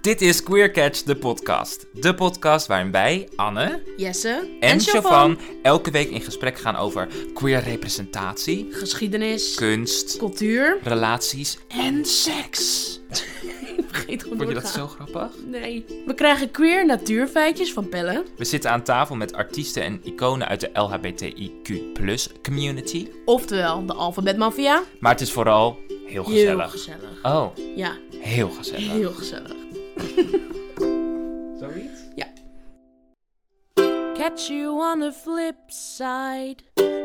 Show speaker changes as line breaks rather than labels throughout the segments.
Dit is Queer Catch, de podcast. De podcast waarin wij, Anne
Jesse
en,
Chavan.
Chavan elke week in gesprek gaan over queer representatie,
Geschiedenis,
kunst,
cultuur.
relaties en seks.
Ik vergeet gewoon
Vond je dat zo
doorgaan.
grappig?
Nee. We krijgen queer natuurfeitjes van Pelle.
We zitten aan tafel met artiesten en iconen uit de LHBTIQ community.
Oftewel, de alfabetmafia.
Maar het is vooral heel
Heel
gezellig.
gezellig.
Oh,
Ja,
heel gezellig.
heel gezellig.
Zoiets?
Catch you on the flip side.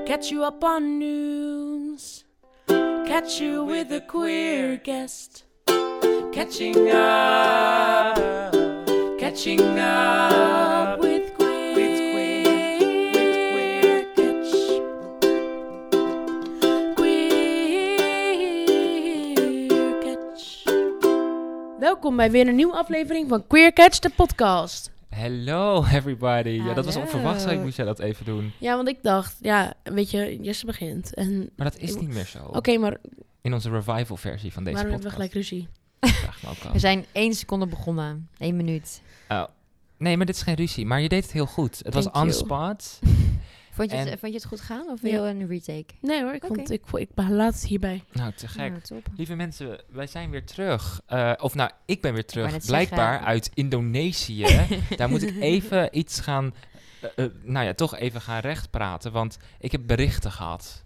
Catch you up on news. Catch you with a queer guest. Catching up. Catching up with queer. catch. Queer catch. Welkom bij weer een nieuwe aflevering van Queer Catch, de podcast.
Hello everybody. Ja, dat was
Hallo.
onverwacht, zei ik moest jij dat even doen.
Ja, want ik dacht, ja, weet je, Jesse begint. En
Maar dat is niet meer zo.
Oké, maar
In onze revival versie van deze
waarom hebben we
Oh, podcast.
gelijk ruzie?
Vraag me ook af.
We zijn één seconde begonnen. Eén minuut.
Nee, maar dit is geen ruzie. Maar je deed het heel goed. Het was
Thank
on
you.
spot.
Vond je,
En-
het, vond je het goed gaan of
Ja.
wil je een retake?
Nee hoor, ik, vond,
Oké.
ik, vo- ik laat het hierbij.
Nou, te gek.
Nou, top.
Lieve mensen, wij zijn weer terug. Eh, of nou, ik ben weer terug.
net zeggen.
Blijkbaar uit Indonesië. Daar moet ik even iets gaan... eh, eh, nou ja, toch even gaan rechtpraten. Want ik heb berichten gehad.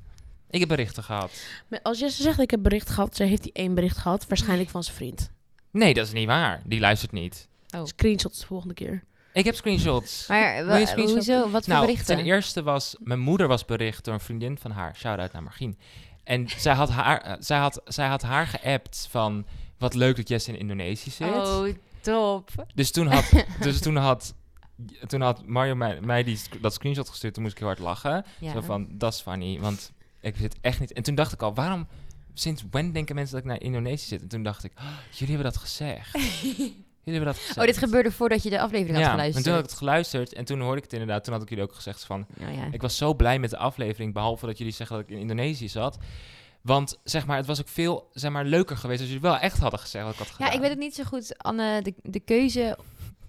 Ik heb berichten gehad.
Maar als Jesse zegt ik heb bericht gehad, zij heeft die één bericht gehad. Waarschijnlijk van zijn vriend.
Nee, dat is niet waar. Die luistert niet.
Oh.
Screenshots de volgende keer.
Ik heb screenshots.
Maar
Wil je
wa-
screenshot?
hoezo? Wat voor
nou,
berichten?
ten eerste was... Mijn moeder was bericht door een vriendin van haar. Shout-out naar Margien. En zij had haar, eh, zij had, zij had haar geappt van... Wat leuk dat Jess in Indonesië zit.
Oh, top.
Dus toen had, dus toen had, toen had Mario mij, mij die, sc- dat screenshot gestuurd. Toen moest ik heel hard lachen.
Ja.
Zo van, dat is funny, want ik zit echt niet... En toen dacht ik al, waarom... Sinds when denken mensen dat ik naar Indonesië zit? En toen dacht ik, "Oh, jullie hebben dat gezegd. jullie hebben dat gezegd.
oh, dit gebeurde voordat je de aflevering had
Ja, en
geluisterd.
toen had ik het geluisterd en toen hoorde ik het inderdaad. Toen had ik jullie ook gezegd van,
Nou ja.
ik was zo blij met de aflevering, behalve dat jullie zeggen dat ik in Indonesië zat. Want zeg maar, het was ook veel zeg maar, leuker geweest als jullie wel echt hadden gezegd wat ik had gedaan.
ja, ik weet het niet zo goed. Anne, de, de keuze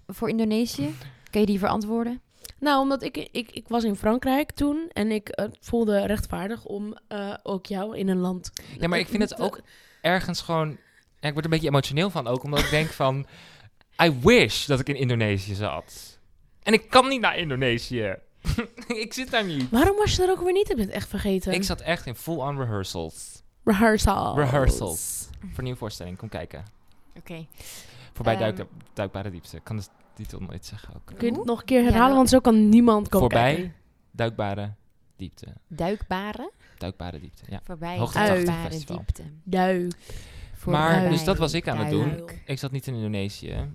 voor Indonesië, kun je die verantwoorden?
Nou, omdat ik, ik, ik was in Frankrijk toen en ik eh, voelde rechtvaardig om eh, ook jou in een land...
Ja, maar ik vind het ook ergens gewoon. Ja, ik word er een beetje emotioneel van ook, omdat ik denk van. I wish dat ik in Indonesië zat. En ik kan niet naar Indonesië. ik zit daar niet.
Waarom was je er ook weer niet? Ik ben het echt vergeten.
Ik zat echt in full-on rehearsals.
Rehearsals.
Rehearsals. Voor een nieuwe voorstelling, kom kijken.
Oké.
Voorbij
Ehm.
duik- duikbare diepte. Ik kan de titel nooit zeggen ook.
Kun je het
Oeh.
nog een keer
Ja,
herhalen?
dat-
Want zo kan niemand komen
Voorbij
kijken.
duikbare diepte.
Duikbare,
Duikbare diepte, ja.
voorbij
Hoogte
duikbare
Festival.
diepte.
Duik.
Maar,
dus
dat was ik aan het doen.
duik.
Ik zat niet in Indonesië.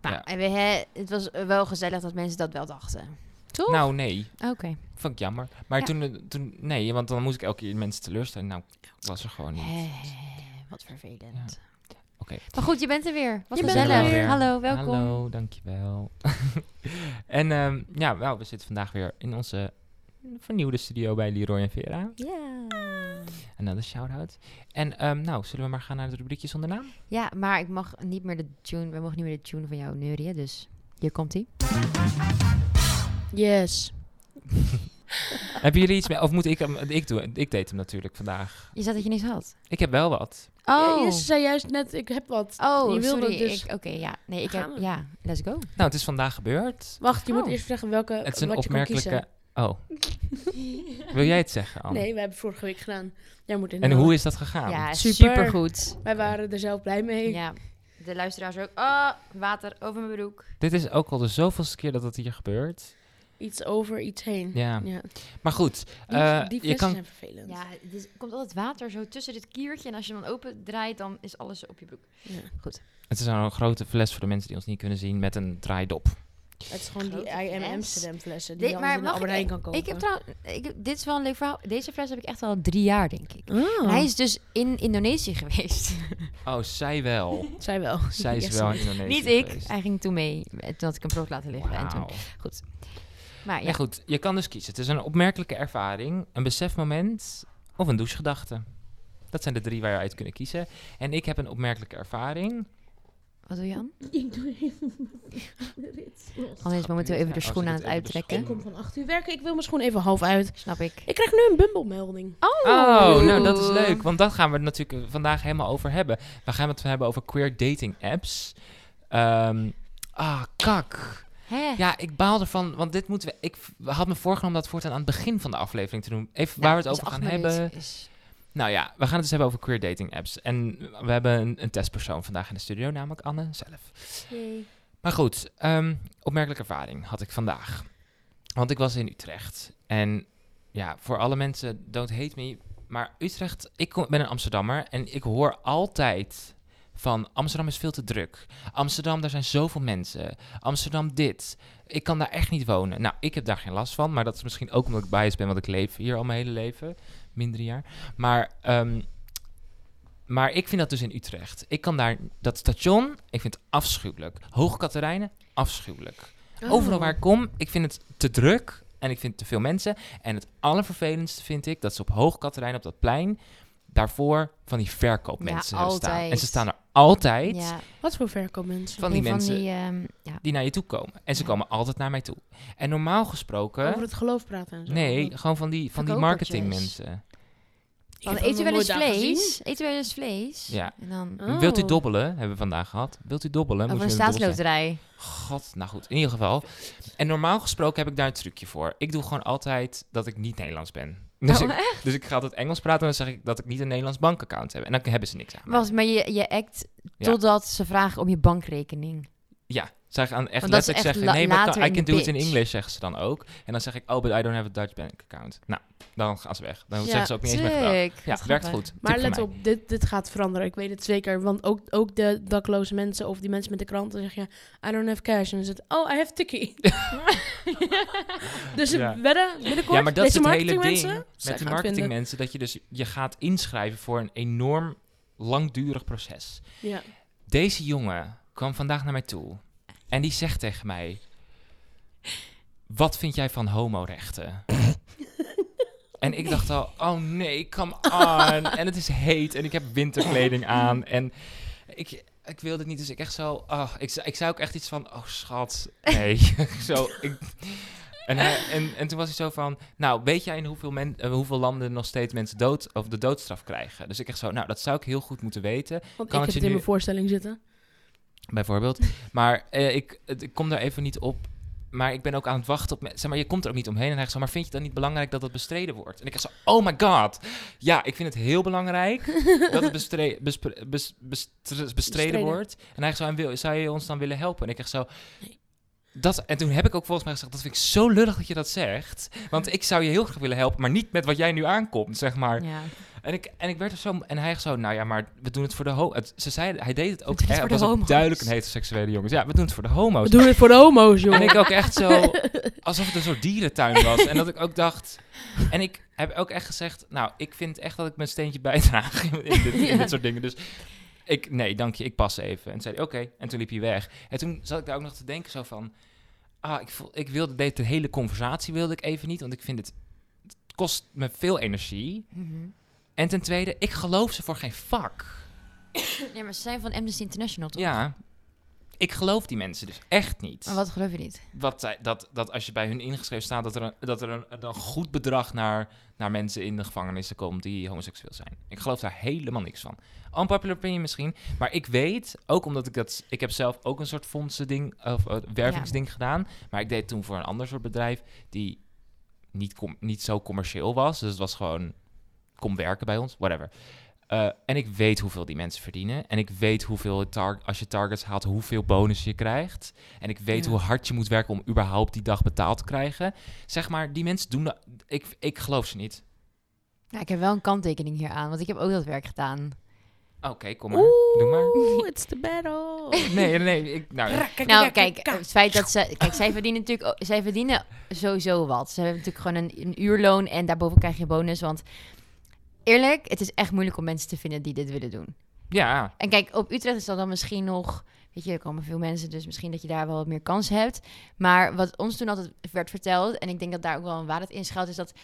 Nou,
Ja.
en we, hè, het was wel gezellig dat mensen dat wel dachten. Toch?
Nou, nee.
Oké.
Vond ik jammer. Maar
Ja.
toen, eh, toen, nee, want dan moest ik elke keer mensen teleurstellen. Nou, ik was er gewoon niet.
Hè, wat vervelend.
Oké.
Maar goed, je bent er weer. Wat
Je bent er
gezellig.
weer.
Hallo, welkom.
Hallo, dankjewel. en ehm, ja, wel, we zitten vandaag weer in onze vernieuwde studio bij Leroy en Vera.
Ja.
Another shout-out. En ehm, nou, zullen we maar gaan naar het rubriekje zonder naam?
Ja, maar ik mag niet meer de tune, we mogen niet meer de tune van jou neurien, dus hier komt hij.
Yes.
Hebben jullie iets mee? Of moet ik hem? Ik, doe, ik deed hem natuurlijk vandaag.
Je zei dat je niks had.
Ik heb wel wat.
Ja, Jesse zei juist net, ik heb wat.
oh,
je wilde
sorry.
dus-
ik- Oké, ja. Nee, ik
Gaan
heb,
we?
ja, let's go.
Nou, het is vandaag gebeurd.
Wacht, je moet
Oh.
eerst zeggen welke.
Het is een
wat je kan
opmerkelijke...
kiezen.
Oh. Wil jij het zeggen, Anne?
Nee, we hebben vorige week gedaan. Jij moet in.
En hoe is dat gegaan?
Ja,
Super.
supergoed.
Wij waren er zelf blij mee.
Ja. De luisteraars ook. Oh, water over mijn broek.
Dit is ook al de zoveelste keer dat het hier gebeurt.
Iets over, iets heen.
Mhm.
Ja.
ja.
Maar goed,
Die,
eh,
die
je
flessen
kan
zijn vervelend.
Ja, het is- komt altijd water zo tussen dit kiertje. En als je hem dan opendraait, dan is alles op je broek.
Ja.
Het is een grote fles voor de mensen die ons niet kunnen zien met een draaidop.
Het is gewoon die
Grote
IM
fles.
Amsterdam flessen die
Dit-
je
maar
anders in de
mag
Albert
ik-
Heijn kan kopen.
Ik heb trouwens, ik, dit is wel een leuk verhaal. Deze fles heb ik echt al drie jaar, denk ik.
Oh,
Hij is dus in Indonesië geweest.
Oh, zij wel.
zij wel.
Zij is
Yes.
wel in Indonesië
Niet ik.
geweest.
Hij ging toen mee. eh, Toen had ik hem brood laten liggen. En
Wauw.
toen, goed. Maar Ah, ja,
Ja, goed. Je kan dus kiezen. Het is een opmerkelijke ervaring, een besefmoment of een douchegedachte. Dat zijn de drie waar je uit kunnen kiezen. En ik heb een opmerkelijke ervaring.
Wat doe je aan?
Ik doe even mijn rits los.
Anne is momenteel even de
Oh, ze
schoenen aan het
doet even de
uittrekken.
Ik kom van 8 uur werken, ik wil mijn schoen even half uit.
Snap ik.
Ik krijg nu een bumble-melding.
Oh,
Oh, nou dat is leuk. Want dat gaan we natuurlijk vandaag helemaal over hebben. We gaan het hebben over queer dating apps. Ehm, ah, kak.
Hè?
Ja, ik baal ervan, want dit moeten we... Ik v- had me voorgenomen dat voortaan aan het begin van de aflevering te doen. Even waar
Nou,
we het
dus
over
acht
gaan
minuten
hebben.
is-
Nou ja, we gaan het dus hebben over queer dating apps. En we hebben een, een testpersoon vandaag in de studio, namelijk Anne zelf. Maar goed, ehm, opmerkelijke ervaring had ik vandaag. Want ik was in Utrecht. En ja, voor alle mensen, don't hate me. Maar Utrecht, ik kom, ben een Amsterdammer en ik hoor altijd van Amsterdam is veel te druk. Amsterdam, daar zijn zoveel mensen. Amsterdam dit. Ik kan daar echt niet wonen. Nou, ik heb daar geen last van, maar dat is misschien ook omdat ik biased ben, want ik leef hier al mijn hele leven. Minder een jaar. Maar, ehm, maar ik vind dat dus in Utrecht. Ik kan daar, dat station, ik vind het afschuwelijk. Hoge Katerijnen, afschuwelijk.
Oh.
Overal waar ik kom, ik vind het te druk en ik vind te veel mensen. En het allervervelendste vind ik dat ze op Hoog Katerijn, op dat plein, daarvoor van die verkoopmensen
Ja,
staan.
altijd.
En ze staan er altijd
Ja,
Oh, Wat voor verkoopmensen?
van die
een
mensen
Van
die,
die, ehm, ja.
naar je toe komen. En ze
Ja.
komen altijd naar mij toe. En normaal gesproken,
Over het geloof praten en zo.
nee, gewoon van die, van die
Verkopertjes.
marketingmensen.
Ik heb
Want
hem
eet u
nog
wel eens
nooit daar gezien.
vlees? Eet u wel eens vlees?
Ja.
En dan...
Oh.
Wilt u dobbelen, hebben we vandaag gehad. Wilt u dobbelen?
Of
moet
een
je met een dobbel zijn.
staatsloterij.
God, nou goed, in ieder geval. En normaal gesproken heb ik daar een trucje voor. Ik doe gewoon altijd dat ik niet Nederlands ben. Dus,
Oh,
ik, dus ik ga altijd Engels praten en dan zeg ik dat ik niet een Nederlands bankaccount heb. En dan hebben ze niks aan. mij.
Was, maar je, je act
Ja.
totdat ze vragen om je bankrekening.
Ja, zij gaan echt
Want dat is
letterlijk
echt
zeggen,
la-
nee, maar
later
kan, I
in de
can do it in
pitch.
English, zeggen ze dan ook. En dan zeg ik, oh, but I don't have a Dutch bank account. Nou, dan gaan ze weg. Dan
Ja,
zeggen ze ook niet eens meer gedacht.
tuurlijk.
Ja,
Wat
werkt
grappig.
goed. Tip
Maar
van
let
mij.
op, dit, dit gaat veranderen. Ik weet het zeker. Want ook, ook de dakloze mensen of die mensen met de krant, dan zeg je... I don't have cash. En dan zit oh, I have tikkie. dus
Ja.
wedden, binnenkort,
Ja, maar dat is
deze
het hele
marketingmensen...
ding
zij
met die
gaan het vinden.
marketingmensen, dat je dus je gaat inschrijven voor een enorm langdurig proces.
Ja.
Deze jongen kwam vandaag naar mij toe en die zegt tegen mij: Wat vind jij van homorechten? en ik dacht al: Oh nee, come on. en het is heet en ik heb winterkleding aan en ik. Ik wilde het niet, dus ik echt zo... ah, ik, zei- ik zei ook echt iets van... Oh, schat, nee. zo, ik, en, hij- en, en toen was hij zo van... Nou, weet jij in hoeveel, men, eh, hoeveel landen nog steeds mensen dood, of de doodstraf krijgen? Dus ik echt zo... Nou, dat zou ik heel goed moeten weten.
Want
Kan
ik
het je
heb het in
nu-
mijn voorstelling zitten.
Bijvoorbeeld. Maar eh, ik, het- ik kom daar even niet op. Maar ik ben ook aan het wachten op... me- Zeg maar, je komt er ook niet omheen. En hij zegt zo, maar vind je het dan niet belangrijk dat dat bestreden wordt? En ik zeg zo, oh my god. Ja, ik vind het heel belangrijk dat het bestre- bespre- bes- bes- tr- bestreden,
Bestreden.
wordt. En hij zegt zo, en wil, zou je ons dan willen helpen? En ik zeg zo... Dat, en toen heb ik ook volgens mij gezegd, dat vind ik zo lullig dat je dat zegt. Want ik zou je heel graag willen helpen, maar niet met wat jij nu aankomt, zeg maar.
Ja.
En ik, en ik werd er zo... En hij echt zo, nou ja, maar we doen het voor de homo... Ze zei, hij deed het ook...
doen het
echt-
voor
was
de
ook
homo's.
duidelijk een heteroseksuele jongens. Ja, we doen het voor de homo's.
We doen het voor de homo's,
en
jongen.
ik ook echt zo... Alsof het een soort dierentuin was. En dat ik ook dacht... En ik heb ook echt gezegd... Nou, ik vind echt dat ik mijn steentje bijdraag in, in dit, in
Ja.
dit soort dingen. Dus ik... Nee, dank je, ik pas even. En toen zei hij, oké. En toen liep hij weg. En toen zat ik daar ook nog te denken zo van... Ah, ik, voel, ik wilde de hele conversatie wilde ik even niet. Want ik vind het... Het kost me veel energie.
Mhm.
En ten tweede, ik geloof ze voor geen vak.
ja, maar ze zijn van Amnesty International, toch? Oh,
Ja. Ik geloof die mensen dus echt niet.
Maar wat geloof je niet?
Wat zij- dat, dat als je bij hun ingeschreven staat, dat er een, dat er een, een goed bedrag naar, naar mensen in de gevangenissen komt die homoseksueel zijn. Ik geloof daar helemaal niks van. Unpopular opinion misschien. Maar ik weet, ook omdat ik dat... Ik heb zelf ook een soort fondsen ding, of eh, wervingsding gedaan. Maar ik deed het toen voor een ander soort bedrijf die niet, com- niet zo commercieel was. Dus het was gewoon, kom werken bij ons, whatever. Eh, en ik weet hoeveel die mensen verdienen. En ik weet hoeveel het tar- als je targets haalt, hoeveel bonus je krijgt. En ik weet
Ja.
hoe hard je moet werken om überhaupt die dag betaald te krijgen. Zeg maar, die mensen doen dat. Ik, ik geloof ze niet.
Nou, ik heb wel een kanttekening hier aan, want ik heb ook dat werk gedaan.
Oké, kom maar. Doe maar.
Oeh, it's the battle.
Nee, nee, ik, nou,
Nou, kijk, het feit dat ze. Kijk, zij verdienen natuurlijk. ook- Zij verdienen sowieso wat. Ze hebben natuurlijk gewoon een, een uurloon en daarboven krijg je bonus. Want eerlijk, het is echt moeilijk om mensen te vinden die dit willen doen.
ja.
En kijk, op Utrecht is dat dan misschien nog. Weet je, er komen veel mensen, dus misschien dat je daar wel wat meer kans hebt. Maar wat ons toen altijd werd verteld, en ik denk dat daar ook wel een waarheid in schuilt, is dat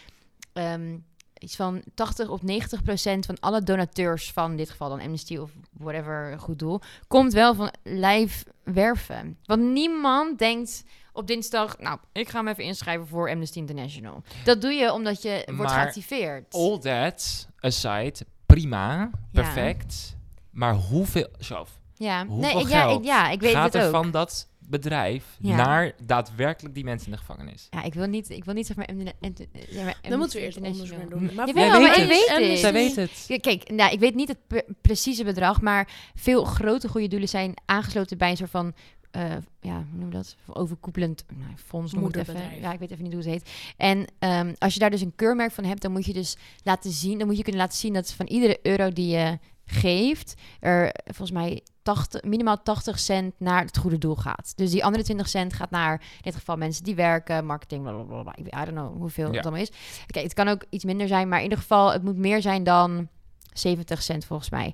ehm, iets van 80 of 90 procent van alle donateurs van in dit geval dan Amnesty of whatever goed doel, komt wel van lijf werven. Want niemand denkt op dinsdag, nou, ik ga me even inschrijven voor Amnesty International. Dat doe je omdat je wordt
Maar
geactiveerd.
All that aside, prima,
Ja.
perfect. Maar hoeveel, Sjaf,
ja.
hoeveel
ik- ja,
geld
ik, ja, ik weet
gaat
het
er
ook.
van dat bedrijf
Ja.
naar daadwerkelijk die mensen in de gevangenis?
Ja, ik wil niet, ik wil niet eh, zeg maar... Amne- Amne- ja, maar
Dan moeten
Amnesty
we eerst onderzoek
International.
naar doen. Maar
eh, Jawel,
Jij
volgens
weet
mij
het.
is
Zij
Amnesty-
Zij weet het.
Ja, Kijk, nou, ik weet niet het pre- precieze bedrag, maar veel grote goede doelen zijn aangesloten bij een soort van, eh, ja, hoe noem je dat? Overkoepelend nou, fonds noem ik het even.
Moederbedrijf.
Ja, ik weet even niet hoe het heet. En ehm, als je daar dus een keurmerk van hebt, dan moet je dus laten zien, dan moet je kunnen laten zien dat van iedere euro die je geeft, er volgens mij 80, minimaal 80 cent naar het goede doel gaat. Dus die andere 20 cent gaat naar, in dit geval mensen die werken, marketing, blablabla. Ik weet- I don't know hoeveel
Ja.
het allemaal is. Oké, het kan ook iets minder zijn, maar in ieder geval, het moet meer zijn dan 70 cent volgens mij.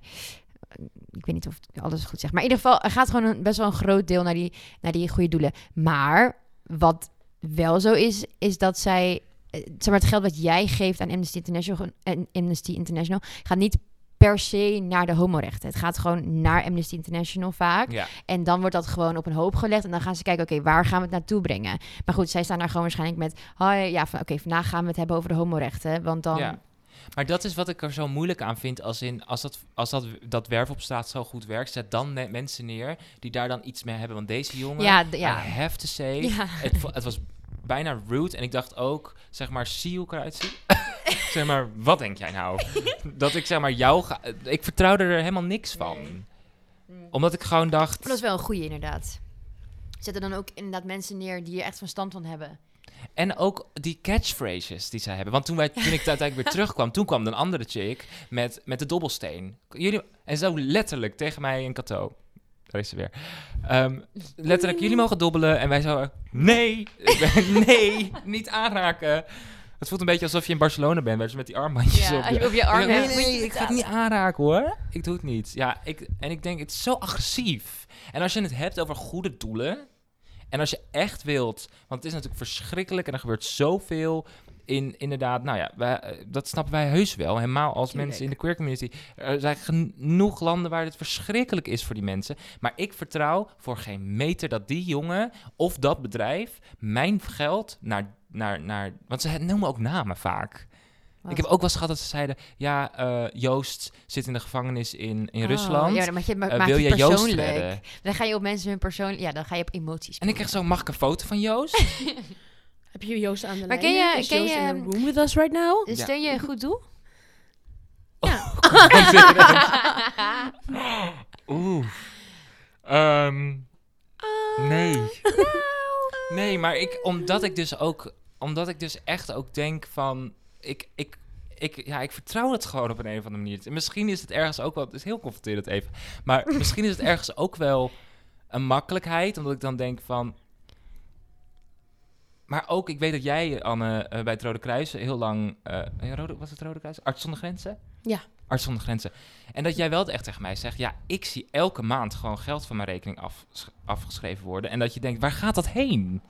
Ik weet niet of ik alles goed zeg. Maar in ieder geval, er gaat gewoon een, best wel een groot deel naar die, naar die goede doelen. Maar wat wel zo is, is dat zij... eh, Zeg maar, het geld wat jij geeft aan Amnesty International, gewoon- en Amnesty International gaat niet per se naar de homorechten. Het gaat gewoon naar Amnesty International vaak.
Ja.
En dan wordt dat gewoon op een hoop gelegd. En dan gaan ze kijken, oké, waar gaan we het naartoe brengen? Maar goed, zij staan daar gewoon waarschijnlijk met... hoi, ja, van, oké, vandaag gaan we het hebben over de homorechten. Want dan...
Ja. Maar dat is wat ik er zo moeilijk aan vind. Als, in, als, dat, als dat, dat werf op straat zo goed werkt, zet dan ne- mensen neer die daar dan iets mee hebben. Want deze jongen,
Ja, d- ja.
I have to say,
Ja.
het, vo- het was bijna rude. En ik dacht ook, zeg maar, zie hoe ik eruit zie. zeg maar, wat denk jij nou? dat ik zeg maar jou ga... Ik vertrouwde er helemaal niks van. Omdat ik gewoon dacht...
Maar Dat is wel een goeie, inderdaad. Zetten dan ook inderdaad mensen neer die er echt verstand van hebben.
En ook die catchphrases die zij hebben. Want toen, wij, toen ik uiteindelijk weer terugkwam, toen kwam een andere chick met, met de dobbelsteen. Jullie, en zo letterlijk tegen mij in Kato. Daar is ze weer. Ehm, letterlijk, jullie mogen dobbelen. En wij zo, nee, ik ben- nee, niet aanraken. Het voelt een beetje alsof je in Barcelona bent, waar ze met die armbandjes op.
als
je-
je op je arm
Ja,
hebt.
nee, nee, ik ga het niet aanraken hoor. Ik doe het niet. Ja, ik, en ik denk, het is zo agressief. En als je het hebt over goede doelen. En als je echt wilt. Want het is natuurlijk verschrikkelijk en er gebeurt zoveel. In, inderdaad, nou ja, wij, eh, dat snappen wij heus wel. Helemaal als
Tuurlijk.
mensen in de queer community. Er zijn genoeg landen waar het verschrikkelijk is voor die mensen. Maar ik vertrouw voor geen meter dat die jongen of dat bedrijf mijn geld naar. naar, naar want ze noemen ook namen vaak.
Wat?
Ik heb ook wel eens gehad dat ze zeiden: Ja, eh, Joost zit in de gevangenis in, in
Oh,
Rusland.
Ja, maar je ma-
Eh,
maakt
wil
het
je Joost
persoonlijk.
redden?
Dan ga je op mensen hun persoonlijk... Ja, dan ga je op emoties.
En ik kreeg zo: Mag ik een foto van Joost?
Heb je Joost aan de
Maar
lijn?
ken je-
Is
ken
Joost
je-
in the room with us right now?
Dus
Ja.
Steun je een goed doel?
Oeh. Ehm,
Oh, nou.
nee. Nee, maar ik, omdat ik dus ook, omdat ik dus echt ook denk van, ik, ik, ik, ja, ik vertrouw het gewoon op een, een of andere manier. En misschien is het ergens ook wel, het is heel confronterend even, maar misschien is het ergens ook wel een makkelijkheid, omdat ik dan denk van, maar ook, ik weet dat jij, Anne, eh, bij het Rode Kruis heel lang, eh, ja, Rode, was het Rode Kruis? Arts zonder grenzen?
Ja.
Arts zonder grenzen. En dat jij wel echt tegen mij zegt, ja, ik zie elke maand gewoon geld van mijn rekening af, afgeschreven worden. En dat je denkt, waar gaat dat heen?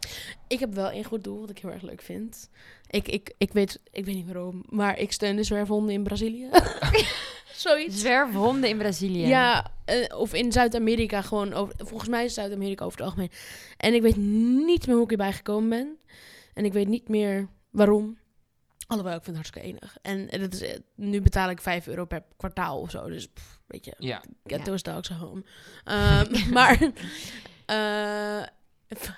Ik heb wel een goed doel, wat ik heel erg leuk vind. Ik, ik, ik, weet, ik weet niet waarom, maar ik steun de zwerfhonden in Brazilië. Zoiets.
Zwerfhonden in Brazilië.
Ja, eh, of in Zuid-Amerika gewoon. Over, volgens mij is Zuid-Amerika over het algemeen. En ik weet niet meer hoe ik hierbij gekomen ben. En ik weet niet meer waarom. Alhoewel, ik vind het hartstikke enig. En eh, dat is, eh, nu betaal ik 5 euro per kwartaal of zo. Dus pff, weet je,
Ja.
get
Ja.
those dogs at home. Ehm, maar, eh,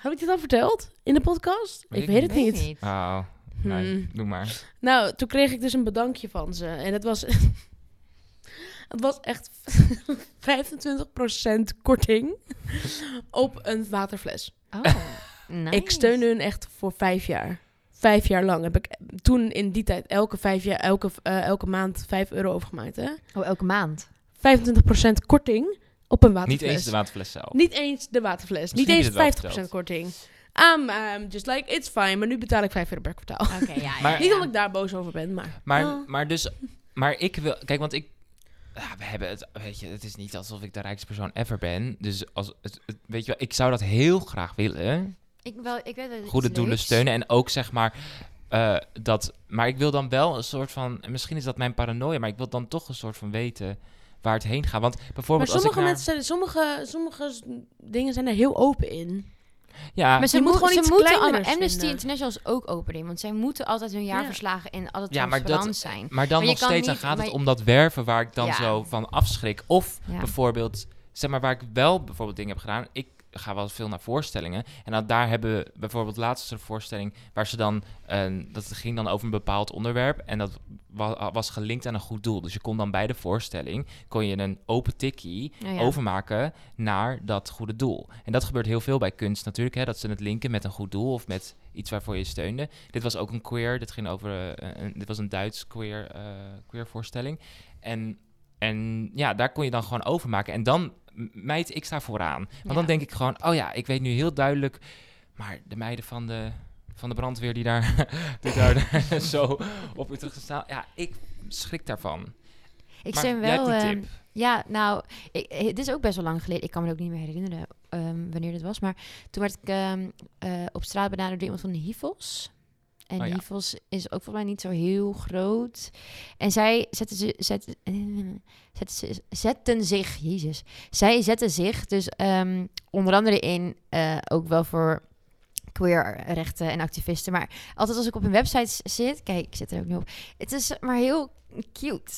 heb ik dit al verteld in de podcast?
Weet
ik
ik
weet
Ik
het
weet
niet.
niet.
Oh, nee,
Hmm.
doe maar.
Nou, toen kreeg ik dus een bedankje van ze. En dat was... het was echt 25% korting op een waterfles.
Oh, nice.
Ik steun hun echt voor vijf jaar. Vijf jaar lang heb ik toen in die tijd elke, vijf jaar, elke, eh, elke maand vijf euro overgemaakt. Hè?
Oh, elke maand.
25% korting op een waterfles.
Niet eens de waterfles zelf.
Niet eens de waterfles.
Misschien
Niet
heb je het wel
eens 50% korting. Um, um, just like, it's fine. Maar nu betaal ik vijf euro per kwartaal.
Oké, ja, ja.
Maar-
Niet dat ik daar boos over ben, maar...
Maar,
Oh.
maar dus, maar ik wil, kijk, want ik, ah, we hebben het, weet je, het is niet alsof ik de rijkste persoon ever ben. Dus als, het, het- weet je wel, ik zou dat heel graag willen.
Ik, wel, ik weet wel iets
Goede doelen
leuks.
steunen en ook zeg maar eh, dat, maar ik wil dan wel een soort van, en misschien is dat mijn paranoia, maar ik wil dan toch een soort van weten waar het heen gaat. Want
Maar
bijvoorbeeld als ik
sommige,
naar...
mensen, zijn- sommige, sommige s- dingen zijn er heel open in.
Ja,
Maar ze,
Je moet
moet
gewoon
ze
iets
moeten
kleiners
allemaal Amnesty
vinden.
International is ook open in, want zij moeten altijd hun jaarverslagen en altijd
Ja, maar dat-
transparant zijn.
maar dan
maar je
nog
kan
steeds, dan
niet-
gaat het
maar-
om dat werven waar ik dan
Ja.
zo van afschrik. Of
Ja.
bijvoorbeeld, zeg maar waar ik wel bijvoorbeeld dingen heb gedaan. Ik ga wel veel naar voorstellingen. En dan, daar hebben we bijvoorbeeld laatst was er een voorstelling waar ze dan, eh, dat ging dan over een bepaald onderwerp. En dat wa- was gelinkt aan een goed doel. Dus je kon dan bij de voorstelling, kon je een open tikkie
Nou ja.
overmaken naar dat goede doel. En dat gebeurt heel veel bij kunst natuurlijk, hè, dat ze het linken met een goed doel of met iets waarvoor je steunde. Dit was ook een queer, dit ging over, eh, een, dit was een Duits queer, eh, queer voorstelling. En, en ja, daar kon je dan gewoon overmaken. En dan, m- meid, ik sta vooraan. Want
Ja.
dan denk ik gewoon, oh ja, ik weet nu heel duidelijk, maar de meiden van de, van de brandweer die daar, die daar zo op Utrecht staan, ja, ik schrik daarvan.
Ik
Maar
steun
jij hebt
wel.
die
ehm,
tip.
ja, nou, ik, eh, dit is ook best wel lang geleden. Ik kan me het ook niet meer herinneren ehm, wanneer dit was. Maar toen werd ik ehm, eh, op straat benaderd door iemand van de Hivos. En
Oh ja.
Hivos is ook volgens mij niet zo heel groot. En zij zetten, ze, zetten, zetten, ze- zetten zich, jezus. Zij zetten zich dus ehm, onder andere in eh, ook wel voor queerrechten en activisten. Maar altijd als ik op een website s- zit, kijk, ik zit er ook nu op. Het is maar heel cute.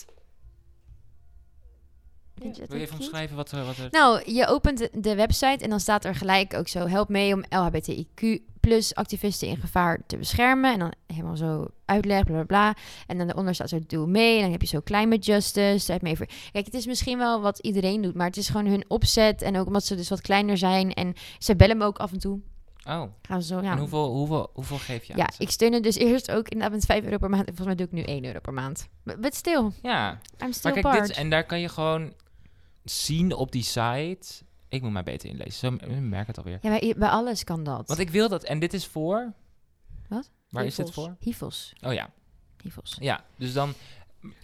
Vind je het
Wil je
ook
even
cute?
omschrijven wat er... Wat er...
Nou, je opent de website en dan staat er gelijk ook zo: help mee om LHBTIQ plus activisten in gevaar te beschermen. En dan helemaal zo uitleg, bla bla bla. En dan daaronder staat zo: doe mee. En dan heb je zo climate justice. Daar heb je mee voor. Kijk, het is misschien wel wat iedereen doet, maar het is gewoon hun opzet. En ook omdat ze dus wat kleiner zijn. En ze bellen me ook af en toe.
Oh,
Gaan ze zo, ja.
en hoeveel, hoeveel, hoeveel geef je aan
ja,
ze?
ik steun het dus eerst ook inderdaad met 5 euro per maand. En volgens mij doe ik nu 1 euro per maand. But, but still,
Ja,
I'm
maar
still
kijk,
part.
dit, is- en daar kan je gewoon zien op die site. Ik moet maar beter inlezen, zo m- merk ik het alweer.
Ja, bij, bij alles kan dat.
Want ik wil dat, en dit is voor...
Wat?
Waar is dit
Hevels.
voor?
Hivos.
Oh ja,
Hivos.
ja, dus dan,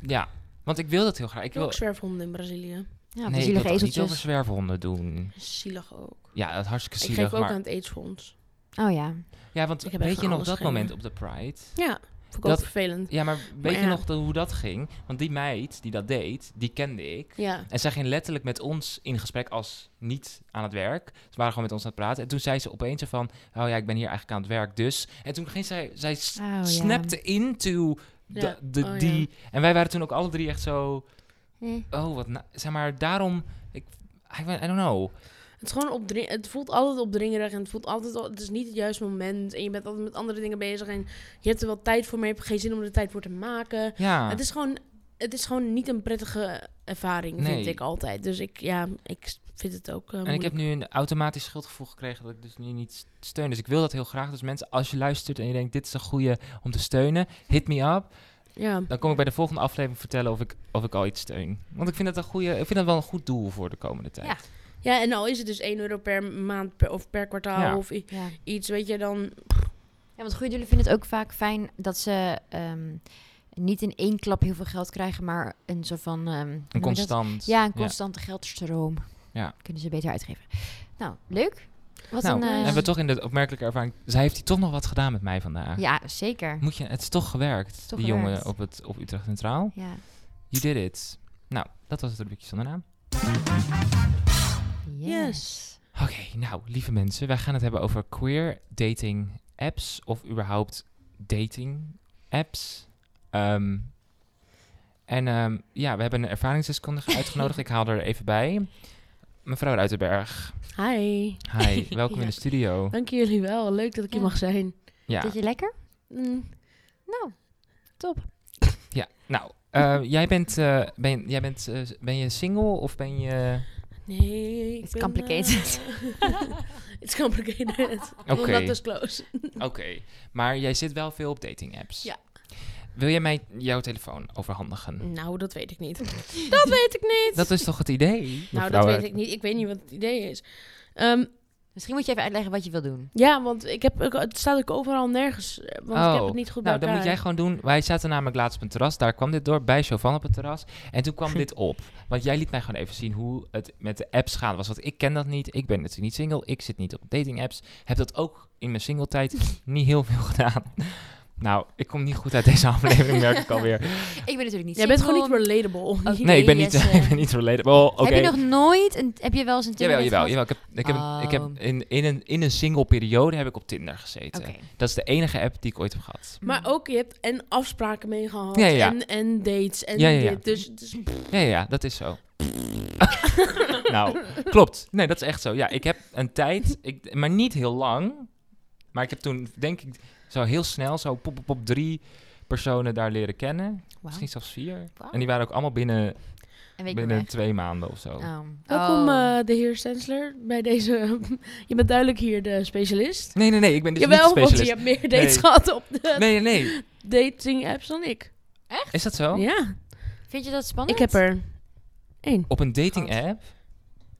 ja, want ik wil dat heel graag. Ik
Ik wil
wil,
ook zwerfhonden in Brazilië.
nee,
Ja,
ik wil
zielige
dat niet over
ezeltjes.
zwerfhonden doen.
Zielig ook.
Ja, dat is hartstikke
ik geef
zielig,
ook
maar...
aan het AIDS-fonds.
Oh ja.
Ja, want
Ik heb echt
weet je
aan
nog
alles
dat
geen-
moment op de Pride?
Ja, vond ik
Dat-
ook vervelend.
Ja, maar weet je
ja.
nog de- hoe dat ging? Want die meid die dat deed, die kende ik.
Ja.
En zij ging letterlijk met ons in gesprek als niet aan het werk. Ze waren gewoon met ons aan het praten. En toen zei ze opeens zo van, oh ja, ik ben hier eigenlijk aan het werk dus. En toen ging zij, zij s-
Oh, ja.
snapte into de,
Ja.
de-
Oh, ja.
die... En wij waren toen ook alle drie echt zo,
Eh.
oh wat, na- zeg maar, daarom... Ik, I, I don't know.
Het, is gewoon opdring- het voelt altijd opdringerig en het voelt altijd... al- Het is niet het juiste moment en je bent altijd met andere dingen bezig en je hebt er wel tijd voor, maar je hebt geen zin om er tijd voor te maken.
Ja,
Het, is gewoon, het is gewoon niet een prettige ervaring, vind
Nee.
ik altijd. Dus ik, ja, ik vind het ook eh,
en ik
moeilijk.
heb nu een automatisch schuldgevoel gekregen dat ik dus nu niet steun. Dus ik wil dat heel graag. Dus mensen, als je luistert en je denkt, dit is een goede om te steunen, hit me up.
Ja.
Dan kom ik bij de volgende aflevering vertellen of ik, of ik al iets steun. Want ik vind dat, een goede, ik vind dat wel een goed doel voor de komende tijd.
Ja.
ja, en al is het dus 1 euro per maand per, of per kwartaal
Ja.
of i-
Ja.
iets, weet je, dan...
ja, want goede doelen vinden het ook vaak fijn dat ze ehm, niet in één klap heel veel geld krijgen, maar een soort van... ehm, hoe noem je
Een
dat?
constant.
Ja, een constante geldstroom.
Ja.
Kunnen ze beter uitgeven. Nou, leuk. Wat
Nou,
een... eh,
hebben we toch in de opmerkelijke ervaring... Zij heeft hier toch nog wat gedaan met mij vandaag.
Ja, zeker.
Moet je, het is toch gewerkt,
toch
die jongen
gewerkt.
op, het, op Utrecht Centraal.
Ja.
You did it. Nou, dat was het rubriekje zonder naam.
Yes.
Oké, nou, lieve mensen. Wij gaan het hebben over queer dating apps. Of überhaupt dating apps. Ehm, en ehm, ja, we hebben een ervaringsdeskundige uitgenodigd. Ik haal er even bij. Mevrouw Ruitenberg.
Hi.
Hi, welkom
Ja.
in de studio.
Dank jullie wel. Leuk dat ik hier
Ja.
mag zijn.
Ja.
Vind je lekker?
Mm.
Nou, top.
Ja, nou, eh, jij bent, eh, ben, jij bent eh, ben je single of ben je...
Nee, ik
It's
ben,
complicated.
eh, it's complicated.
Oké,
Not Dat dus- is close.
oké. Maar jij zit wel veel op dating apps.
Ja.
Wil jij mij jouw telefoon overhandigen?
Nou, dat weet ik niet. dat weet ik niet.
Dat is toch het idee?
nou, dat
mevrouw?
weet ik niet. Ik weet niet wat het idee is. Ehm,
Misschien moet je even uitleggen wat je wil doen.
ja, want ik heb, ook- het staat ook overal nergens. eh, Want ik
Oh,
heb het niet goed bij
Nou, dan
elkaar.
moet jij gewoon doen. Wij zaten namelijk laatst op een terras. Daar kwam dit door, bij Chauvin op het terras. En toen kwam dit op. Want jij liet mij gewoon even zien hoe het met de apps gaan was. Want ik ken dat niet. Ik ben natuurlijk niet single. Ik zit niet op dating apps. Heb dat ook in mijn single tijd niet heel veel gedaan. Nou, ik kom niet goed uit deze aflevering, merk ik alweer.
Ik ben natuurlijk niet
Jij bent gewoon niet
single.
relatable.
Oké.
Nee, ik ben niet,
Jesse.
ik ben niet related. Wel, oké.
Heb je nog nooit... Een, heb je wel eens een Tinder
Jawel,
date
jawel,
gehad?
jawel. Ik heb, ik heb, ik heb
Oh.
in, in, een, in een single periode heb ik op Tinder gezeten.
Oké.
Dat is de enige app die ik ooit heb gehad.
Maar ook, je hebt en afspraken mee gehad.
Ja, ja.
En, en dates. En
Ja, ja, ja.
dit. Dus, dus
Ja, ja, ja, dat is zo. nou, klopt. Nee, dat is echt zo. Ja, ik heb een tijd, ik, maar niet heel lang. Maar ik heb toen, denk ik, zo heel snel, zo pop, pop, pop, drie personen daar leren kennen.
Wauw.
Misschien zelfs vier.
Wauw.
En die waren ook allemaal binnen,
En weet ik
binnen
niet
twee maanden of zo.
meer. Oh.
welkom
Oh.
eh, de heer Stensler bij deze... je bent duidelijk hier de specialist.
Nee, nee, nee, ik ben dus
Jawel,
niet de
want je
specialist.
hebt meer dates
Nee.
gehad op de
Nee, nee, nee.
dating apps dan ik.
Is dat zo?
Ja,
Vind je dat spannend?
ik heb er één.
Op een dating app?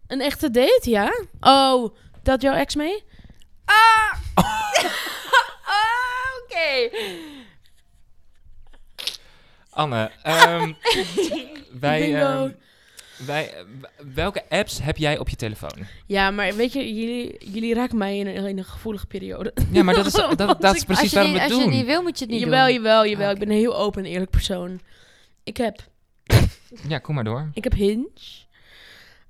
Een echte date, ja? Oh, dat jouw ex mee?
Ah! Ah, Oké.
Anne, ehm, wij,
Bingo.
ehm, wij, eh, w- welke apps heb jij op je telefoon?
Ja, maar weet je, jullie, jullie raken mij in een, in een gevoelige periode.
Ja, maar dat is, dat,
Want
dat, is
ik-
precies
als
waarom
je, niet,
we het
als je
doen.
het niet wil, moet je het niet
jawel,
doen.
jawel, jawel.
Ah,
Ik ben een heel open en eerlijk persoon. Ik heb,
Ja, kom maar door.
ik heb Hinge.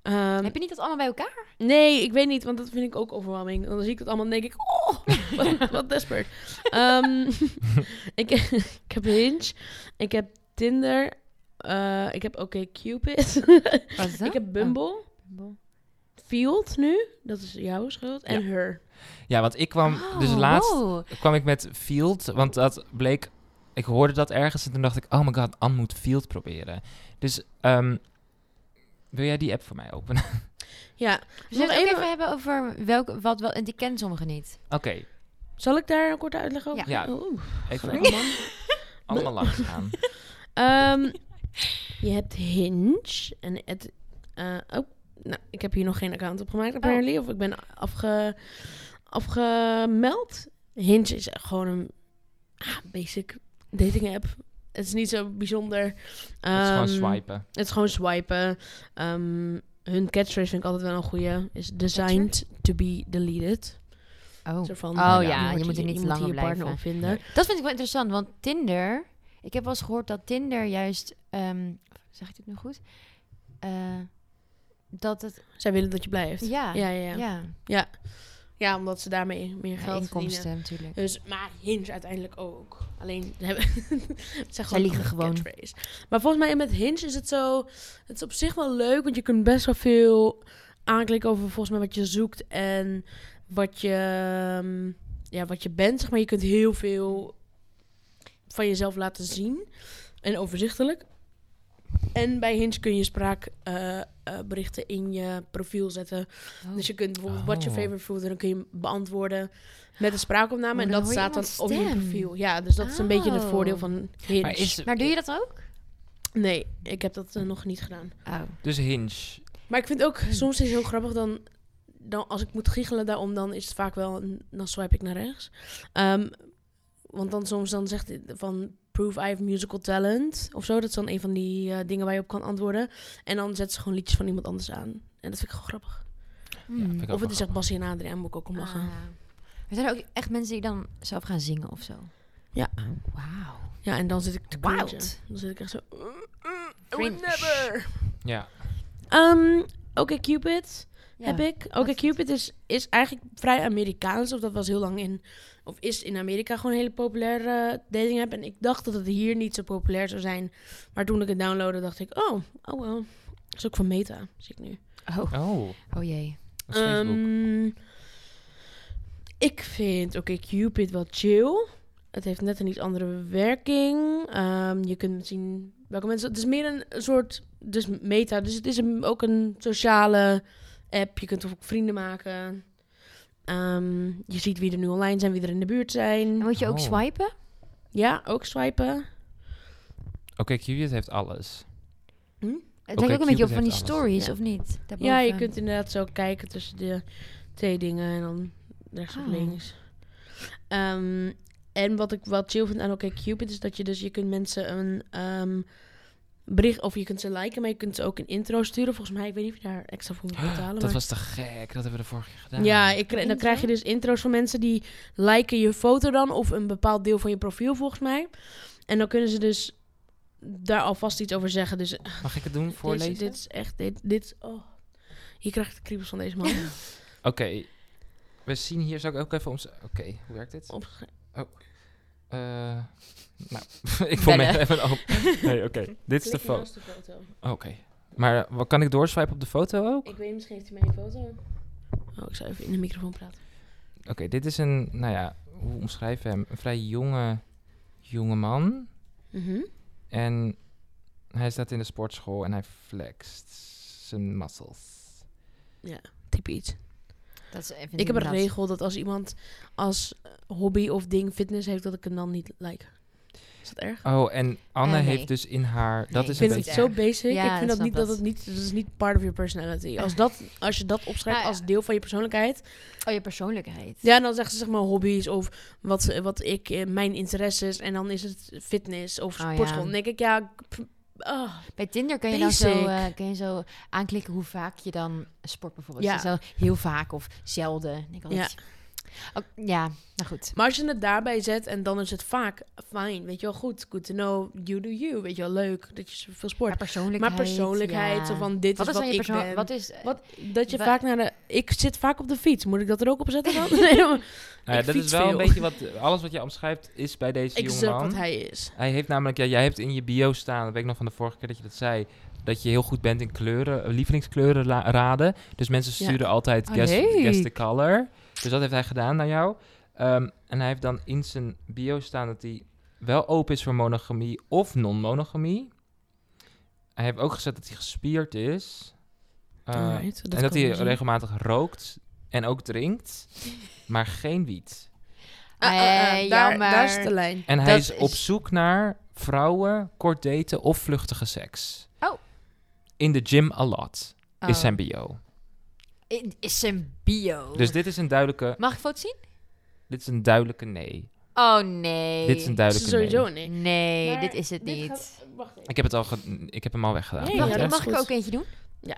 Ehm,
Heb je niet dat allemaal bij elkaar?
Nee, ik weet niet, want dat vind ik ook overwhelming. Dan zie ik dat allemaal en denk ik, oh, wat, wat desperate. Ehm, ik, ik heb Hinge, ik heb Tinder, eh, ik heb OkCupid,
Wat is Oh.
ik heb Bumble, Field nu, dat is jouw schuld, en Her.
Ja, want ik kwam dus
Oh,
laatst
wow.
kwam ik met Field, want dat bleek... Ik hoorde dat ergens en toen dacht ik, oh my god, Anne moet Field proberen. Dus ehm, wil jij die app voor mij openen?
Ja,
Zullen we
nog
het Dus ook
even,
even hebben over welk, wat wel... En die kennen sommigen niet.
Oké,
zal ik daar een korte uitleg over? Oh,
Ja. Ja.
Oeh.
even
Gelukkig.
allemaal, allemaal langs gaan.
Ehm, je hebt Hinge en het. eh, oh, nou, ik heb hier nog geen account op gemaakt, apparently.
Oh.
Of ik ben afge, afgemeld. Hinge is gewoon een ah, basic dating app. Het is niet zo bijzonder.
Het is gewoon
Ehm,
swipen.
Het is gewoon swipen. Ehm, hun catchphrase vind ik altijd wel een goeie. Is designed to be deleted.
Oh,
Zo van,
oh
je
ja,
wordt
je moet er niet te
je
lang
hier
op
je partner
blijven.
op vinden.
Nee.
Dat vind ik wel interessant, want Tinder... Ik heb wel eens gehoord dat Tinder juist... ehm, zeg ik dit nu goed? Eh, dat het...
Zij willen dat je blijft.
Ja, ja,
ja, ja. ja. Ja, omdat ze daarmee meer
ja
geld verdienen.
inkomsten natuurlijk.
Dus, maar Hinge uiteindelijk ook. Alleen, ze hebben, het zijn
Zij
gewoon
liegen
andere
gewoon.
catchphrase. Maar volgens mij met Hinge is het zo... Het is op zich wel leuk, want je kunt best wel veel aanklikken over volgens mij wat je zoekt en wat je, ehm, ja, wat je bent. Zeg maar je kunt heel veel van jezelf laten zien en overzichtelijk. En bij Hinge kun je spraakberichten eh, in je profiel zetten.
Oh.
Dus je kunt bijvoorbeeld wat je
Oh.
favorite food en dan kun je hem beantwoorden met een spraakopname
Oh,
en
dan
dat
hoor je
staat dan op
iemands
je
stem.
profiel. Ja, dus dat is een beetje het
Oh.
voordeel van Hinge.
Maar is,
Maar doe je dat ook?
Nee, ik heb dat eh, nog niet gedaan.
Oh.
dus Hinge.
Maar ik vind ook
Hmm.
soms is het heel grappig dan, dan als ik moet giechelen daarom dan is het vaak wel een- dan swipe ik naar rechts. Ehm, want dan soms dan zegt hij van prove I have musical talent of zo. Dat is dan een van die eh, dingen waar je op kan antwoorden. En dan zetten ze gewoon liedjes van iemand anders aan. En dat vind ik gewoon grappig.
Ja, vind ik ook
Of
wel
het is echt
grappig.
Bassie en Adriaan, moet ik ook om lachen.
Ah. Er zijn er ook echt mensen die dan zelf gaan zingen of zo.
Ja.
Wauw.
Ja, en dan zit ik te
Wild.
cringen. Dan zit ik echt zo... Mm, mm, I would
Cringe.
never.
Ja,
Ehm, Oké Cupid
Ja.
heb ik. Oké Cupid is, is eigenlijk vrij Amerikaans. Of dat was heel lang in... Of is in Amerika gewoon een hele populaire eh, dating app. En ik dacht dat het hier niet zo populair zou zijn. Maar toen ik het downloadde dacht ik... Oh, oh wel. Dat is ook van Meta, zie ik nu.
Oh,
oh,
oh jee.
dat is Facebook.
Ehm, ik vind Oké Cupid wel chill. Het heeft net een iets andere werking. Ehm, je kunt zien welke mensen. Het is meer een een soort dus meta. Dus het is een- ook een sociale app. Je kunt ook vrienden maken. Ehm, je ziet wie er nu online zijn, wie er in de buurt
En
zijn.
moet je ook
Oh.
swipen?
Ja, ook swipen.
Oké, Cupid heeft alles.
Het
Oké,
lijkt ook een beetje op
Cupid
van die
heeft alles.
stories,
Ja.
of niet? Daarboven.
Ja, je kunt inderdaad zo kijken tussen de twee dingen en dan rechts of
Ah.
Oh.
links. Ehm, en wat ik wel chill vind aan OkCupid is dat je dus je kunt mensen een ehm, bericht, of je kunt ze liken, maar je kunt ze ook een intro sturen. Volgens mij, ik weet niet of je daar extra voor moet betalen.
Dat
maar-
was te gek. Dat hebben we de vorige keer gedaan.
Ja, ik, kri- dan
Intro?
krijg je dus intro's van mensen die liken je foto dan of een bepaald deel van je profiel volgens mij. En dan kunnen ze dus daar alvast iets over zeggen. Dus eh,
Mag ik het doen? Voorlezen?
Deze, dit is echt, dit, dit is, oh. Hier krijg ik de kriebels van deze man.
Oké. We zien hier, zou ik ook even om... Oké, hoe werkt dit?
Op-
Eh, nou, ik vond me
Bellen.
even open. Nee, oké. Dit is de
Klik
foto.
naast de foto.
Oké. Maar eh, wat kan ik doorswipen op de foto ook?
Ik weet niet, misschien heeft hij mij een foto. Oh, ik zou even in de microfoon praten.
Oké, dit is een, nou ja, hoe omschrijven we hem? Een vrij jonge, jonge man.
Mhm.
En hij staat in de sportschool en hij flext zijn muscles.
Type iets.
Dat is even
Ik heb een regel dat als iemand als eh, hobby of ding fitness heeft, dat ik hem dan niet like. Is dat erg?
Oh, en Anne
Eh, nee.
heeft dus in haar... Dat is
Ah, Ik
Nee,
een
vind
niet
beetje...
het
erg.
zo basic.
Ja,
ik vind
ik
dat
snap
niet dat
dat.
het niet, dat is niet part of your personality. Als, dat, als je dat opschrijft
Ah, ja.
als deel van je persoonlijkheid,
Oh, je persoonlijkheid.
ja, dan zeggen ze zeg maar hobby's of wat, ze- wat ik, eh, mijn interesses. En dan is het fitness of
Oh, ja.
sportschool. Dan denk ik, ja, pff, ah,
Bij Tinder kun je dan
Basic.
zo, eh, kun je zo aanklikken hoe vaak je dan sport bijvoorbeeld.
Ja.
Ja. heel vaak of zelden. Ik Denk altijd, Oh, ja, nou goed.
Maar als je het daarbij zet en dan is het vaak fijn, weet je wel, goed, good to know, you do you, weet je wel, leuk dat je zoveel sport.
Maar persoonlijkheid.
Maar persoonlijkheid,
ja.
zo van dit
wat
is
is
wat
dan je
ik
persoon?
ben.
Wat is... eh,
Wat- dat je
wa-
vaak naar de... Ik zit vaak op de fiets, moet ik dat er ook op zetten dan? Nee, maar-
Nou ja,
Ik
dat is
fiets
wel
veel.
een beetje wat... Alles wat je omschrijft is bij deze
ik
jonge
zeg
man.
wat hij is.
Hij heeft namelijk, ja, jij hebt in je bio staan, dat weet ik nog van de vorige keer dat je dat zei, dat je heel goed bent in kleuren, eh, lievelingskleuren la- raden. Dus mensen
Ja.
sturen altijd
Oh,
guess,
leuk.
guess the color. Dus dat heeft hij gedaan naar jou. Ehm, en hij heeft dan in zijn bio staan dat hij wel open is voor monogamie of non-monogamie. Hij heeft ook gezet dat hij gespierd is. Eh,
Alright,
en dat
kan dus
hij
wel zien.
regelmatig rookt en ook drinkt, maar geen wiet.
Ah, ah, ah,
Eh,
daar,
jammer.
daar is de lijn.
En hij
Dat
is op
is-
zoek naar vrouwen, kort daten of vluchtige seks.
Oh.
In de gym a lot,
oh.
is zijn bio.
In- Is zijn bio.
Dus dit is een duidelijke,
Mag ik foto zien?
dit is een duidelijke nee.
Oh, nee.
Dit is een
Dat is
duidelijke nee.
sowieso een nee.
Nee,
Maar
dit is het
dit
niet.
gaat- wacht even.
Ik heb, het al ge- ik heb hem al weggedaan.
Nee,
Niet,
Mag,
ja,
hè?
dat is
mag ik
goed.
ook eentje doen?
Ja.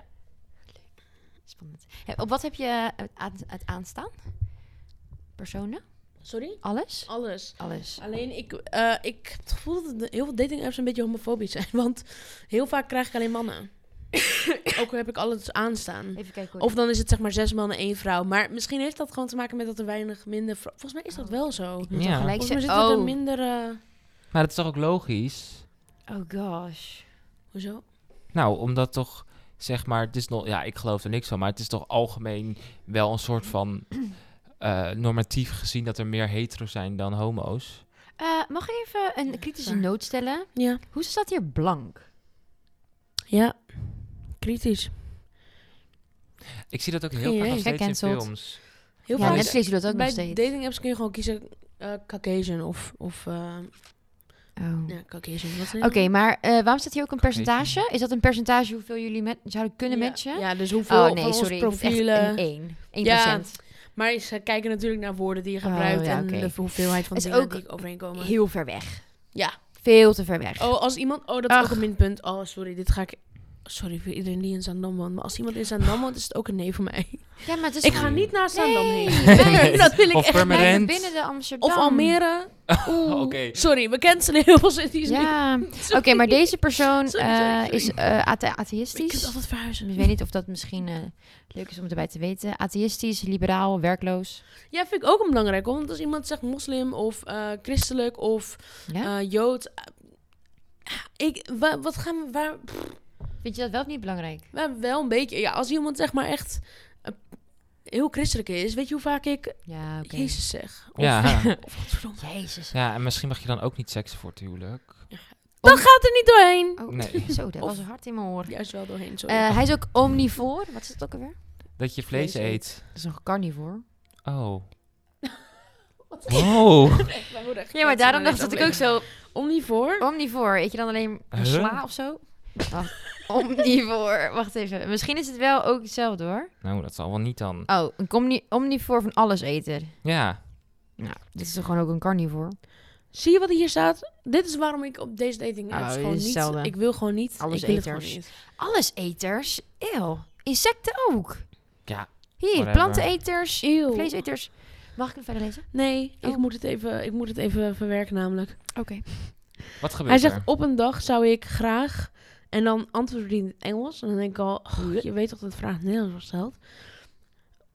Leuk. Spannend. Hé, op wat heb je het aan- het aanstaan? Personen?
Sorry?
Alles?
Alles.
Alles.
Alleen, ik, eh, ik heb het gevoel dat de- heel veel dating apps een beetje homofobisch zijn. Want heel vaak krijg ik alleen mannen. ook heb ik alles aanstaan.
Ehm, Even kijken hoe
Of dan is het zeg maar zes mannen, één vrouw. Maar misschien heeft dat gewoon te maken met dat er weinig minder... vrou- Volgens mij is dat wel zo.
Oh. Ik moet
Ja.
ja. gelijk
Volgens mij
zeggen.
zitten er
Oh.
minder... eh,
Maar dat is toch ook logisch?
oh gosh.
hoezo?
Nou, omdat toch, zeg maar, het is nog, ja, ik geloof er niks van, maar het is toch algemeen wel een soort van eh, normatief gezien dat er meer hetero's zijn dan homo's.
Eh, mag ik even een kritische
Waar?
noot stellen?
Ja.
Hoe staat hier blank?
Ja. Kritisch.
Ik zie dat ook
Geen
heel vaak nog
idee.
steeds in
Gecanceld.
films.
Heel
ja,
vaak
net
is-
Netflix doet dat ook
bij
nog steeds.
dating apps kun je gewoon kiezen eh, Caucasian of... of eh,
Oh.
ja, Caucasian. Wat is het?
Oké, maar eh, waarom staat hier ook een percentage? Is dat een percentage hoeveel jullie met, zouden kunnen
ja,
matchen?
Ja, dus hoeveel
Oh nee,
van ons
sorry. ik moet echt
profielen...
Een 1. 1
Ja, Maar ze kijken natuurlijk naar woorden die je
Oh,
gebruikt
ja,
en
oké.
de hoeveelheid van
Is
dingen
ook
die overeenkomen.
Heel ver weg.
Ja.
Veel te ver weg.
Oh, als iemand... Oh, dat is
Ach.
ook een minpunt. Oh, sorry, dit ga ik... Sorry voor iedereen die in Zandam woont. Maar als iemand in Zandam woont, is het ook een nee voor mij.
Ja, maar het is
Ik ga
Nee.
niet naar Zandam
Nee,
heen.
nee.
Dat wil ik
Of
echt
Wij
permanent.
zijn binnen de Amsterdam.
Of Almere. Oeh.
Oké.
Sorry, we cancelen heel veel cities nu.
Ja. Oké, maar deze persoon
Sorry,
eh,
sorry, sorry.
is eh, athe-
Ik kan het
atheïstisch.
altijd
Ik
verhuizen.
weet niet of dat misschien eh, leuk is om erbij te weten. Atheïstisch, liberaal, werkloos.
Ja, vind ik ook een belangrijk. hoor, Want als iemand zegt moslim of eh, christelijk of
Ja?
eh, jood. eh, ik, wa- wat gaan we, waar, pff,
Vind je dat wel of niet belangrijk?
waar wel een beetje. Ja, als iemand zeg maar echt eh, heel christelijk is, weet je hoe vaak ik
Ja, oké.
Jezus zeg? Of,
Ja.
of godverdomme.
Jezus.
Ja, en misschien mag je dan ook niet seksen voor het huwelijk.
Dat gaat er niet doorheen.
Oh,
Nee.
Zo, dat
Of-
was hard in mijn oor.
Juist wel doorheen, sorry.
Eh, hij is ook omnivoor. Wat is het ook alweer?
Dat je vlees
Vlees
eet.
Dat is nog carnivoor.
Oh. Wow.
Wij worden echt
Ja, maar daarom dacht
gecanceld
dat ik
in
ook
deze
zo...
aflevering. Omnivoor.
Omnivoor. Eet je dan alleen een
Huh?
sla of zo? Wacht. Omnivoor. Wacht even. Misschien is het wel ook hetzelfde hoor.
Nou, dat zal wel niet dan.
Oh, een comni- omnivoor van alles eten.
Ja.
Nou, dit is toch gewoon ook een carnivoor?
Zie je wat hier staat? Dit is waarom ik op deze dating apps
Oh,
gewoon
dit is
niet...
hetzelfde.
Ik wil gewoon niet.
Alles
ik wil het
eters.
gewoon niet.
Alleseters? Eeuw. Insecten ook.
Ja,
Hier,
whatever.
planteneters,
Eeuw.
vleeseters. Mag ik hem verder lezen?
Nee, ik,
Oh.
moet het even, ik moet het even verwerken namelijk.
Oké.
wat gebeurt
Hij zegt,
er?
op een dag zou ik graag... En dan antwoordt hij in het Engels. En dan denk ik al, "Oh, je weet toch dat de vraag in het Nederlands was gesteld?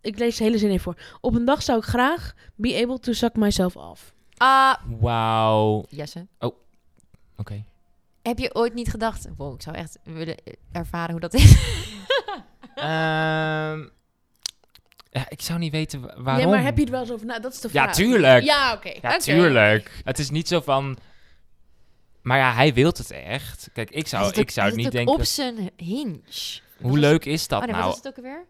Ik lees de hele zin even voor. Op een dag zou ik graag be able to suck myself off.
Ah,
Wauw. Oké.
Jesse. Heb je ooit niet gedacht... Wow, ik zou echt willen eh, ervaren hoe dat is.
Ehm, ja, ik zou niet weten wa- waarom.
Ja, maar heb je er wel eens over... Nou, dat is de vraag.
Ja, tuurlijk. Ja,
Ja, oké. Oké.
tuurlijk. Het is niet zo van... Maar ja, hij wil het echt. Kijk, ik zou,
Hij zit
ik
ook-
zou
hij
niet
zit ook
denken...
op zijn hinge.
Hoe leuk is dat
oh, nee,
nou?
wat is het ook alweer?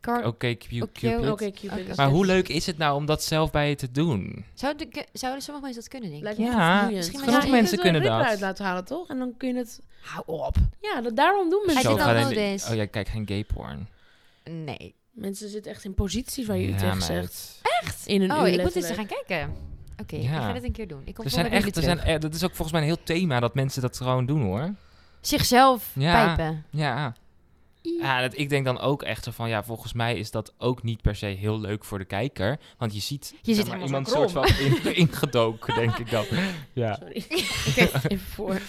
Car-
Oké, cu-
Oké,
Cupid.
Oké, Cupid.
Oké.
is
Maar
dit.
hoe leuk is het nou om dat zelf bij je te doen?
zouden, ke- zouden sommige mensen dat kunnen, denk ik?
Lijkt me
Ja,
echt vermoeiend.
misschien
Maar
maar
je
sommige
kunt
mensen
er
kunnen
een rit
dat.
uit laten halen, toch? En dan kun je het...
Hou op.
Ja, dat, daarom doen
Hij
mensen
zit
dat.
gaat
al
hij
nodig.
niet- Oh ja, kijk, geen gay porn.
Nee.
Mensen zitten echt in posities waar je u
Ja,
tegen
meid.
zegt. Echt? In een
Oh,
uur
ik moet eens
letterlijk.
gaan kijken. Oké, ik
Ja.
ga dit een keer doen. Ik kom
Er zijn
volgende
echt,
week
er
weer
zijn, eh, dat is ook volgens mij een heel thema dat mensen dat gewoon doen hoor.
terug. Zichzelf
Ja.
pijpen.
Ja. ja dat, ik denk dan ook echt zo van, ja, volgens mij is dat ook niet per se heel leuk voor de kijker. Want je ziet,
Je
zeg
ziet
maar,
helemaal
iemand
zo
soort van in, ingedoken, denk ik dan. Ja. Oké,
Sorry. ik kijk even voor.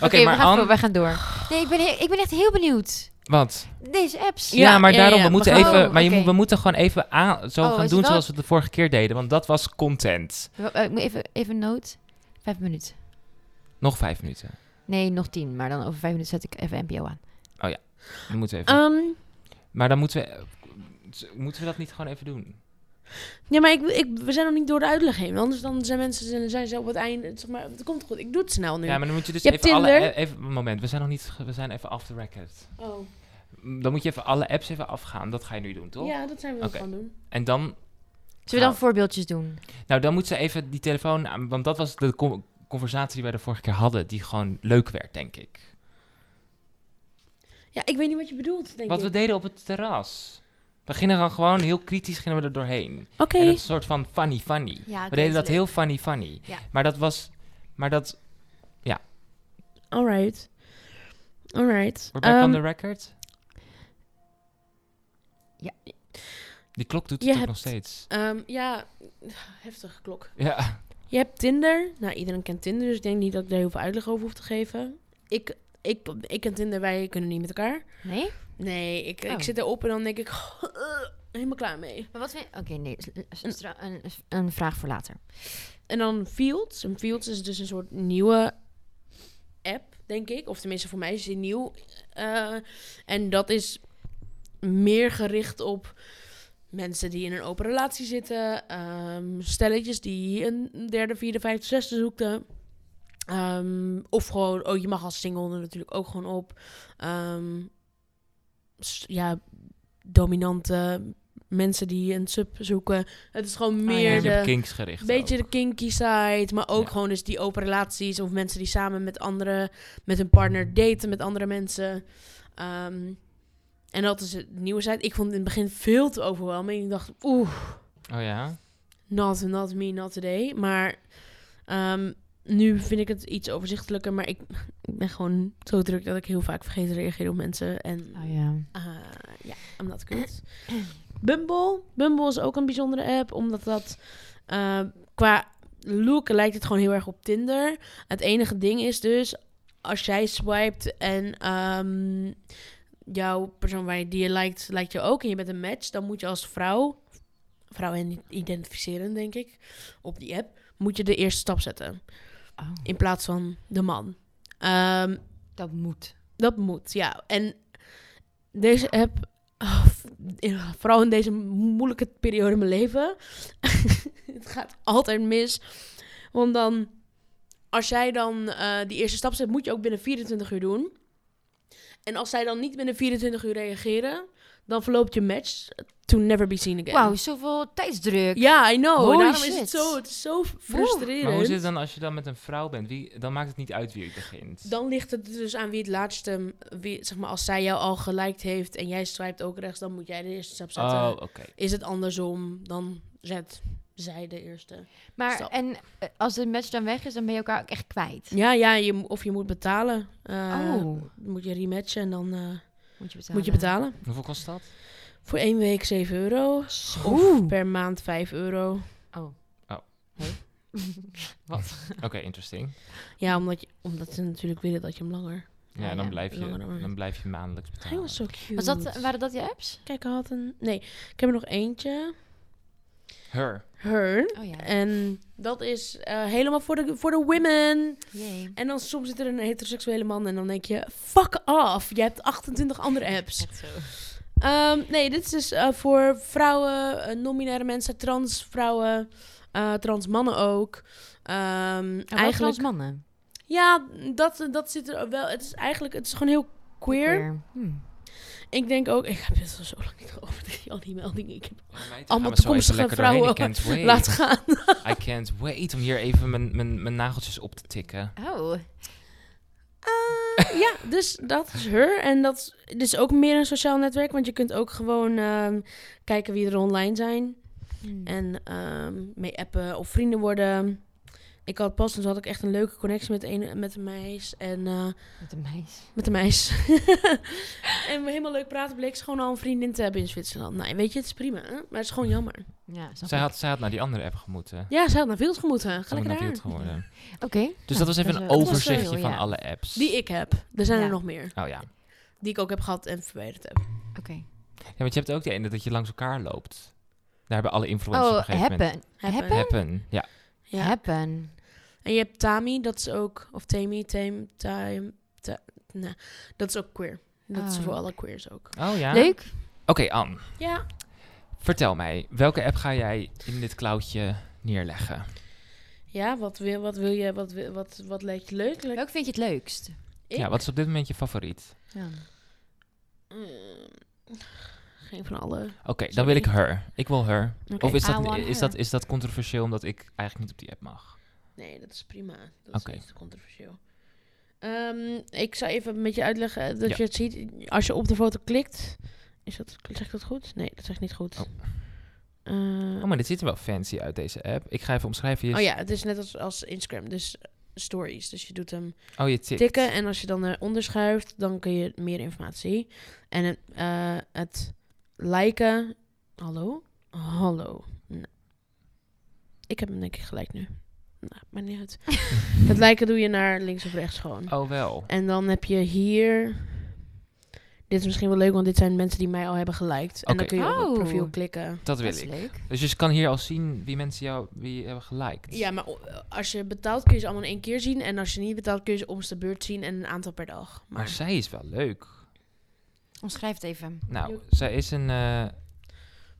Oké,
maar
we, gaan
Anne,
voor- we gaan door. Nee, ik ben, he- ik ben echt heel benieuwd.
wat?
Deze apps.
Ja, maar
ja,
daarom,
ja,
we
we
moeten
gaan-
even,
Oh,
maar je
oké.
moet, we moeten gewoon even aan, zo
Oh, is
gaan
het
doen
wel-
zoals we het de vorige keer deden. Want dat was content.
W- eh, Ik moet even, even een noot. Vijf minuten.
Nog vijf minuten.
Nee, nog tien. Maar dan over vijf minuten zet ik even NPO aan.
Dan moeten we
Oh.
even.
Ehm,
Maar dan moeten we, eh, z- moeten we dat niet gewoon even doen?
ja, maar ik, ik, we zijn nog niet door de uitleg heen. Anders dan zijn mensen zijn, zijn ze op het einde... Zeg maar, het komt goed. Ik doe het snel nu.
Ja, maar dan moet je dus
Je hebt
even alle...
Tinder.
eh, Even, een moment, we zijn nog niet, ge- we zijn even off the record.
oh.
Dan moet je even alle apps even afgaan. Dat ga je nu doen, toch?
ja dat zijn we wel
Oké.
gaan doen.
En dan
Zullen we
Nou.
dan voorbeeldjes doen?
Nou, dan moet ze even die telefoon aan, want dat was de con- conversatie die wij de vorige keer hadden, die gewoon leuk werd, denk ik.
Ja, ik weet niet wat je bedoelt, denk
Wat we
ik.
deden op het terras. We gingen dan gewoon heel kritisch gingen we er doorheen.
Oké.
En dat is een soort van funny funny.
Ja,
we deden dat heel funny funny.
Ja.
Maar dat was, maar dat,
Alright. Alright.
wordt back
Ehm,
on the record?
Ja.
Die klok doet
Je
het ook
hebt-
nog steeds.
ehm, ja, heftige klok.
Ja.
Je hebt Tinder. Nou, iedereen kent Tinder, dus ik denk niet dat ik daar heel veel uitleg over hoef te geven. Ik, ik, ik ken Tinder, wij kunnen niet met elkaar.
Nee?
Nee, ik,
Oh.
ik zit erop en dan denk ik... helemaal klaar mee.
Maar wat vind Oké, nee. s- s- stra- Een, een vraag voor later.
En dan Fields. En Fields is dus een soort nieuwe app, denk ik. Of tenminste, voor mij is die nieuw. Eh, en dat is meer gericht op mensen die in een open relatie zitten. ehm, stelletjes die een derde, vierde, vijfde, zesde zoekten. Ehm, of gewoon, oh, je mag als single er natuurlijk ook gewoon op. Ehm, s- ja, dominante mensen die een sub zoeken. Het is gewoon
ja.
meer
Een
de...
beetje op kinks gericht
Beetje
ook.
de kinky side, maar ook
Ja.
gewoon dus die open relaties of mensen die samen met anderen, met hun partner daten met andere mensen. Ehm, en dat is het nieuwe side. Ik vond het in het begin veel te overwhelming. Ik dacht, oeh,
Oh ja?
not, not me, not today. Maar ehm, nu vind ik het iets overzichtelijker, maar ik, ik ben gewoon zo druk dat ik heel vaak vergeet te reageren op mensen. En
Oh ja.
eh, ja, I'm not good. Bumble. Bumble is ook een bijzondere app, omdat dat eh, qua look lijkt het gewoon heel erg op Tinder. Het enige ding is dus, als jij swipet en ehm, jouw persoon waar je, die je lijkt, lijkt je ook en je bent een match, dan moet je als vrouw, vrouw en identificeren denk ik, op die app, moet je de eerste stap zetten.
Oh,
In plaats van de man. Ehm,
dat moet.
dat moet, ja. En deze app, oh, v- in- vooral in deze moeilijke periode in mijn leven, het gaat altijd mis. Want dan, als jij dan eh, die eerste stap zet, moet je ook binnen 24 uur doen. En als zij dan niet binnen 24 uur reageren, dan verloopt je match to never be seen again.
Wauw, zoveel tijdsdruk.
Ja, I know.
Holy
en daarom is
shit.
het zo, het is zo frustrerend.
Maar hoe zit het dan als je dan met een vrouw bent? Wie, dan maakt het niet uit wie je begint.
Dan ligt het dus aan wie het laatste, wie, zeg maar, als zij jou al geliked heeft en jij swipt ook rechts, dan moet jij de eerste stap zetten.
oh, oké.
Is het andersom, dan zet zij de eerste.
Maar
Stap.
en eh, als de match dan weg is, dan ben je elkaar ook echt kwijt.
Ja, ja je, mo- of je moet betalen. Eh,
oh,
Moet je rematchen en dan eh,
moet je betalen.
moet je betalen.
Hoeveel kost dat?
Voor één week 7 euro. Of
Oeh.
per maand 5 euro.
Oh.
Oh.
Hey.
Wat? Oké, interesting.
Ja, omdat, je, omdat ze natuurlijk willen dat je hem langer...
Ja,
Ja,
dan,
ja,
blijf je,
langer dan-
dan blijf je maandelijks
Hij
betalen.
was zo cute.
was dat, eh, waren dat je apps?
Kijk, hij had een... Nee, ik heb er nog eentje.
Her.
Her.
Oh ja.
En dat is eh, helemaal voor de, voor de women.
Jee.
En dan soms zit er een heteroseksuele man en dan denk je... Fuck off, je hebt 28 andere apps.
Echt zo.
Ehm, nee, dit is dus eh, voor vrouwen, eh, non-binaire mensen, trans vrouwen, eh, trans mannen ook. Ehm,
Eigenlijk
eigenlijk,
als mannen.
ja, dat, dat zit er wel. Het is eigenlijk, het is gewoon heel queer.
Hm.
Ik denk ook, ik heb dit al zo lang niet over die, al die meldingen. Ik heb
Allemaal
toekomstige vrouwen.
Ik can't wait.
laat gaan.
I can't wait om hier even mijn, mijn, mijn nageltjes op te tikken.
Oh.
Eh, ja, dus dat is her. En dat is, dit is ook meer een sociaal netwerk, want je kunt ook gewoon ehm, kijken wie er online zijn.
Hm.
En ehm, mee appen of vrienden worden. Ik had pas, dus had ik echt een leuke connectie met een, met een meis. En eh,
Met een meisje.
met een meis. en we helemaal leuk praten bleek ze gewoon al een vriendin te hebben in Zwitserland. Nou, weet je, het is prima. Hè? Maar het is gewoon jammer.
Ja, snap
Zij
ik.
had, zij had naar die andere app gemoeten.
Ja, ze had naar Wild gemoeten. Ga
Zij had
lekker
naar
naar
Wild
haar.
geworden.
Oké.
Dus
Nou,
dat was even een
eh, dat
overzichtje
veel,
van
ja.
alle apps.
Die ik heb. Er zijn
Ja.
er nog meer.
Oh ja.
Die ik ook heb gehad en verwijderd heb.
Oké.
Ja, want je hebt ook de ene dat je langs elkaar loopt. Daar hebben alle influencers op
Oh,
een gegeven moment.
happen. Happen?
Happen. Ja.
Ja.
Happen.
En je hebt Tami, dat is ook... Of Tami, Tame, Time... Ta- nou, dat is ook queer. Dat is
Oh.
voor alle queers ook.
Oh ja. Oké,
Leuk.
Anne.
Ja,
Vertel mij, welke app ga jij in dit cloudje neerleggen?
Ja, wat wil, wat wil je, wat, wil- wat, wat lijkt je leuk? Lijkt-
Welk vind je het leukst?
ik?
Ja, wat is op dit moment je favoriet?
Ja.
Mm, geen van alle.
Oké, dan wil ik
Sorry.
her. Ik wil her.
Oké.
Of is
I
dat,
want
is,
her.
dat, is dat controversieel omdat ik eigenlijk niet op die app mag?
Nee, dat is prima. Dat
Oké.
is niet te controversieel. Ehm, ik zou even met je uitleggen eh, dat
Ja.
je het ziet. Als je op de foto klikt, is dat, zeg ik dat goed? Nee, dat zeg ik niet goed.
Oh.
Eh,
Oh, maar dit ziet er wel fancy uit, deze app. Ik ga even omschrijven. Je
oh ja, het is net als, als Instagram, dus eh, stories. Dus je doet hem
Oh, je tikt.
tikken en als je dan eronder schuift, dan kun je meer informatie. En eh, het liken. Hallo? Hallo. Nou. Ik heb hem denk ik gelijk nu. Nou, maar niet uit. het liken doe je naar links of rechts gewoon.
Oh, wel.
En dan heb je hier. Dit is misschien wel leuk, want dit zijn mensen die mij al hebben geliked. En dan
Oké.
kun je op
Oh.
het profiel klikken.
Dat wil
is
ik.
leuk.
Dus je kan hier al zien wie mensen jou wie hebben geliked.
Ja, maar o- als je betaalt kun je ze allemaal in één keer zien. En als je niet betaalt kun je ze om de beurt zien en een aantal per dag.
Maar
Maar
zij is wel leuk.
Omschrijf het even.
Nou,
Jo-
zij is een, eh,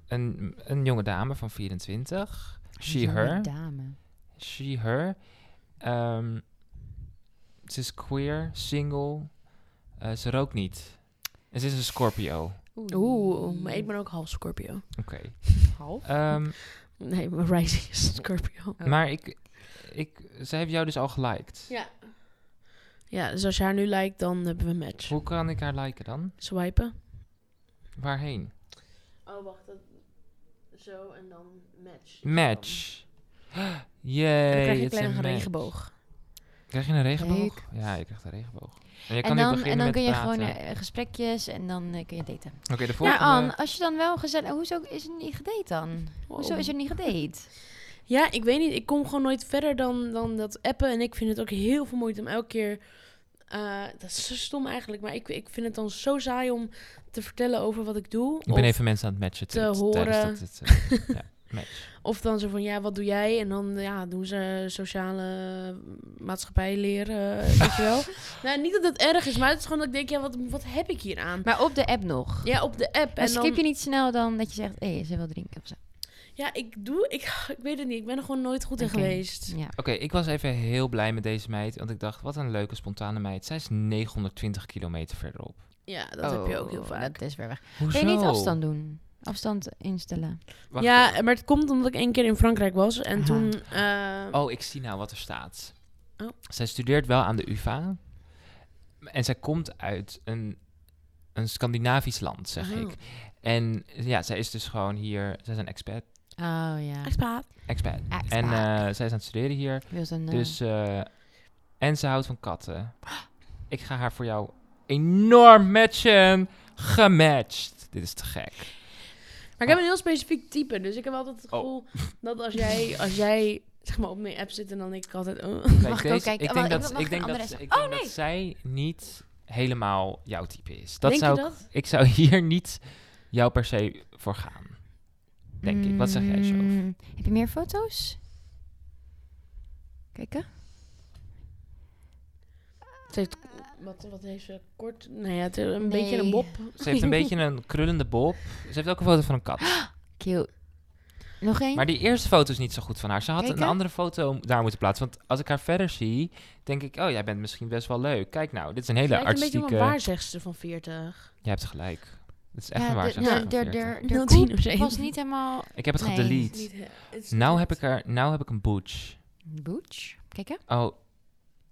een, een jonge dame van 24. She,
Jonge
her.
dame.
She, her. Ehm, ze is queer, single. Eh, ze rookt niet. En ze is een Scorpio. Oké.
Oeh, maar ik ben ook half Scorpio.
half.
Ehm,
Nee, mijn Rising is Scorpio.
Oh.
Maar ik, ik, zij heeft jou dus al geliked.
Ja. Ja, dus als je haar nu lijkt, dan hebben we een match.
Hoe kan ik haar liken dan?
Swipen.
Waarheen?
Oh, wacht. Zo en dan match.
Match.
Dan
Yay.
krijg je een
it's a
kleine
match.
regenboog.
Krijg je een regenboog?
Leuk.
Ja, je krijgt een regenboog. En, je kan
En
weer
dan,
beginnen
en dan
met
kun je
praten.
gewoon eh, gesprekjes en dan eh, kun je daten.
Oké, de
Maar
volgende.
Anne, als je dan wel gezellig... Hoezo is er niet gedate dan? Hoezo is er niet gedate?
Ja, ik weet niet. Ik kom gewoon nooit verder dan, dan dat appen. En ik vind het ook heel veel moeite om elke keer... eh, dat is zo stom eigenlijk. Maar ik, ik vind het dan zo saai om te vertellen over wat ik doe.
Ik
Of-
ben even mensen aan het matchen.
te
t- tijdens
horen.
dat het, eh, ja, match.
Of dan zo van, ja, wat doe jij? En dan ja, doen ze sociale maatschappij leren, eh, weet je wel. nou, niet dat het erg is, maar het is gewoon dat ik denk, ja, wat, wat heb ik hier aan?
Maar op de app nog.
Ja, op de app.
Nou, Maar
En
skip
dan,
je niet snel dan dat je zegt... Hé, ze wil drinken of zo.
ja, ik doe, ik, ik weet het niet. Ik ben er gewoon nooit goed in
Oké.
geweest.
Ja.
Oké, ik was even heel blij met deze meid. Want ik dacht, wat een leuke, spontane meid. Zij is 920 kilometer verderop.
Ja, dat heb je ook heel
Oh,
vaak.
Dat is weer weg.
Hoezo?
Kun je niet afstand doen? Afstand instellen.
Wacht
ja,
even.
maar het komt omdat ik één keer in Frankrijk was. En
Aha.
toen... eh,
Oh, ik zie nou wat er staat.
Oh.
Zij studeert wel aan de UvA. En zij komt uit een, een Scandinavisch land, zeg
Oh.
ik. En ja, zij is dus gewoon hier... Zij is een expat.
Oh ja.
Expat.
Expat.
Expat.
En eh, zij is aan het studeren hier.
Wil ze een, eh,
Dus, eh, en ze houdt van katten. Ik ga haar voor jou enorm matchen. Gematcht. Dit is te gek.
Maar ik heb een heel specifiek type, dus ik heb altijd het gevoel dat als jij, als jij zeg maar, op mijn app zit en dan denk ik altijd... oh.
Mag ik ook kijken?
Ik
Oh,
denk
ik-
dat,
mag
ik
ik
denk
een
dat,
andere
ze-
zeggen?
ik denk
Oh, nee.
dat zij niet helemaal jouw type is. Dat
denk
zou
je
ik,
dat?
ik zou hier niet jou per se voor gaan. Denk ik. Wat zeg jij, Sjoerd?
Mm, Heb je meer foto's? Kijken.
Ze heeft, wat,
eh?
wat heeft ze? Kort? Nou ja, het, een
Nee.
beetje een bob.
Ze heeft een beetje een krullende bob. Ze heeft ook een foto van een kat.
Cute. Nog één?
Maar die eerste foto is niet zo goed van haar. Ze had
Kijk,
een
hè?
andere foto daar moeten plaatsen. Want als ik haar verder zie, denk ik... Oh, jij bent misschien best wel leuk. Kijk nou, dit is een hele
Lijkt een beetje op
artistieke...
een waarzegster van 40.
Je hebt gelijk. Het is echt
ja,
een waar.
de-
zeg
de-
maar, van
de- de-
40.
de- de
Wil
groep
zien of ze-
was niet helemaal...
Ik heb het
Nee.
gedelete. Nou heb ik er... Nou heb ik een butch.
Booch. Kijken.
Oh,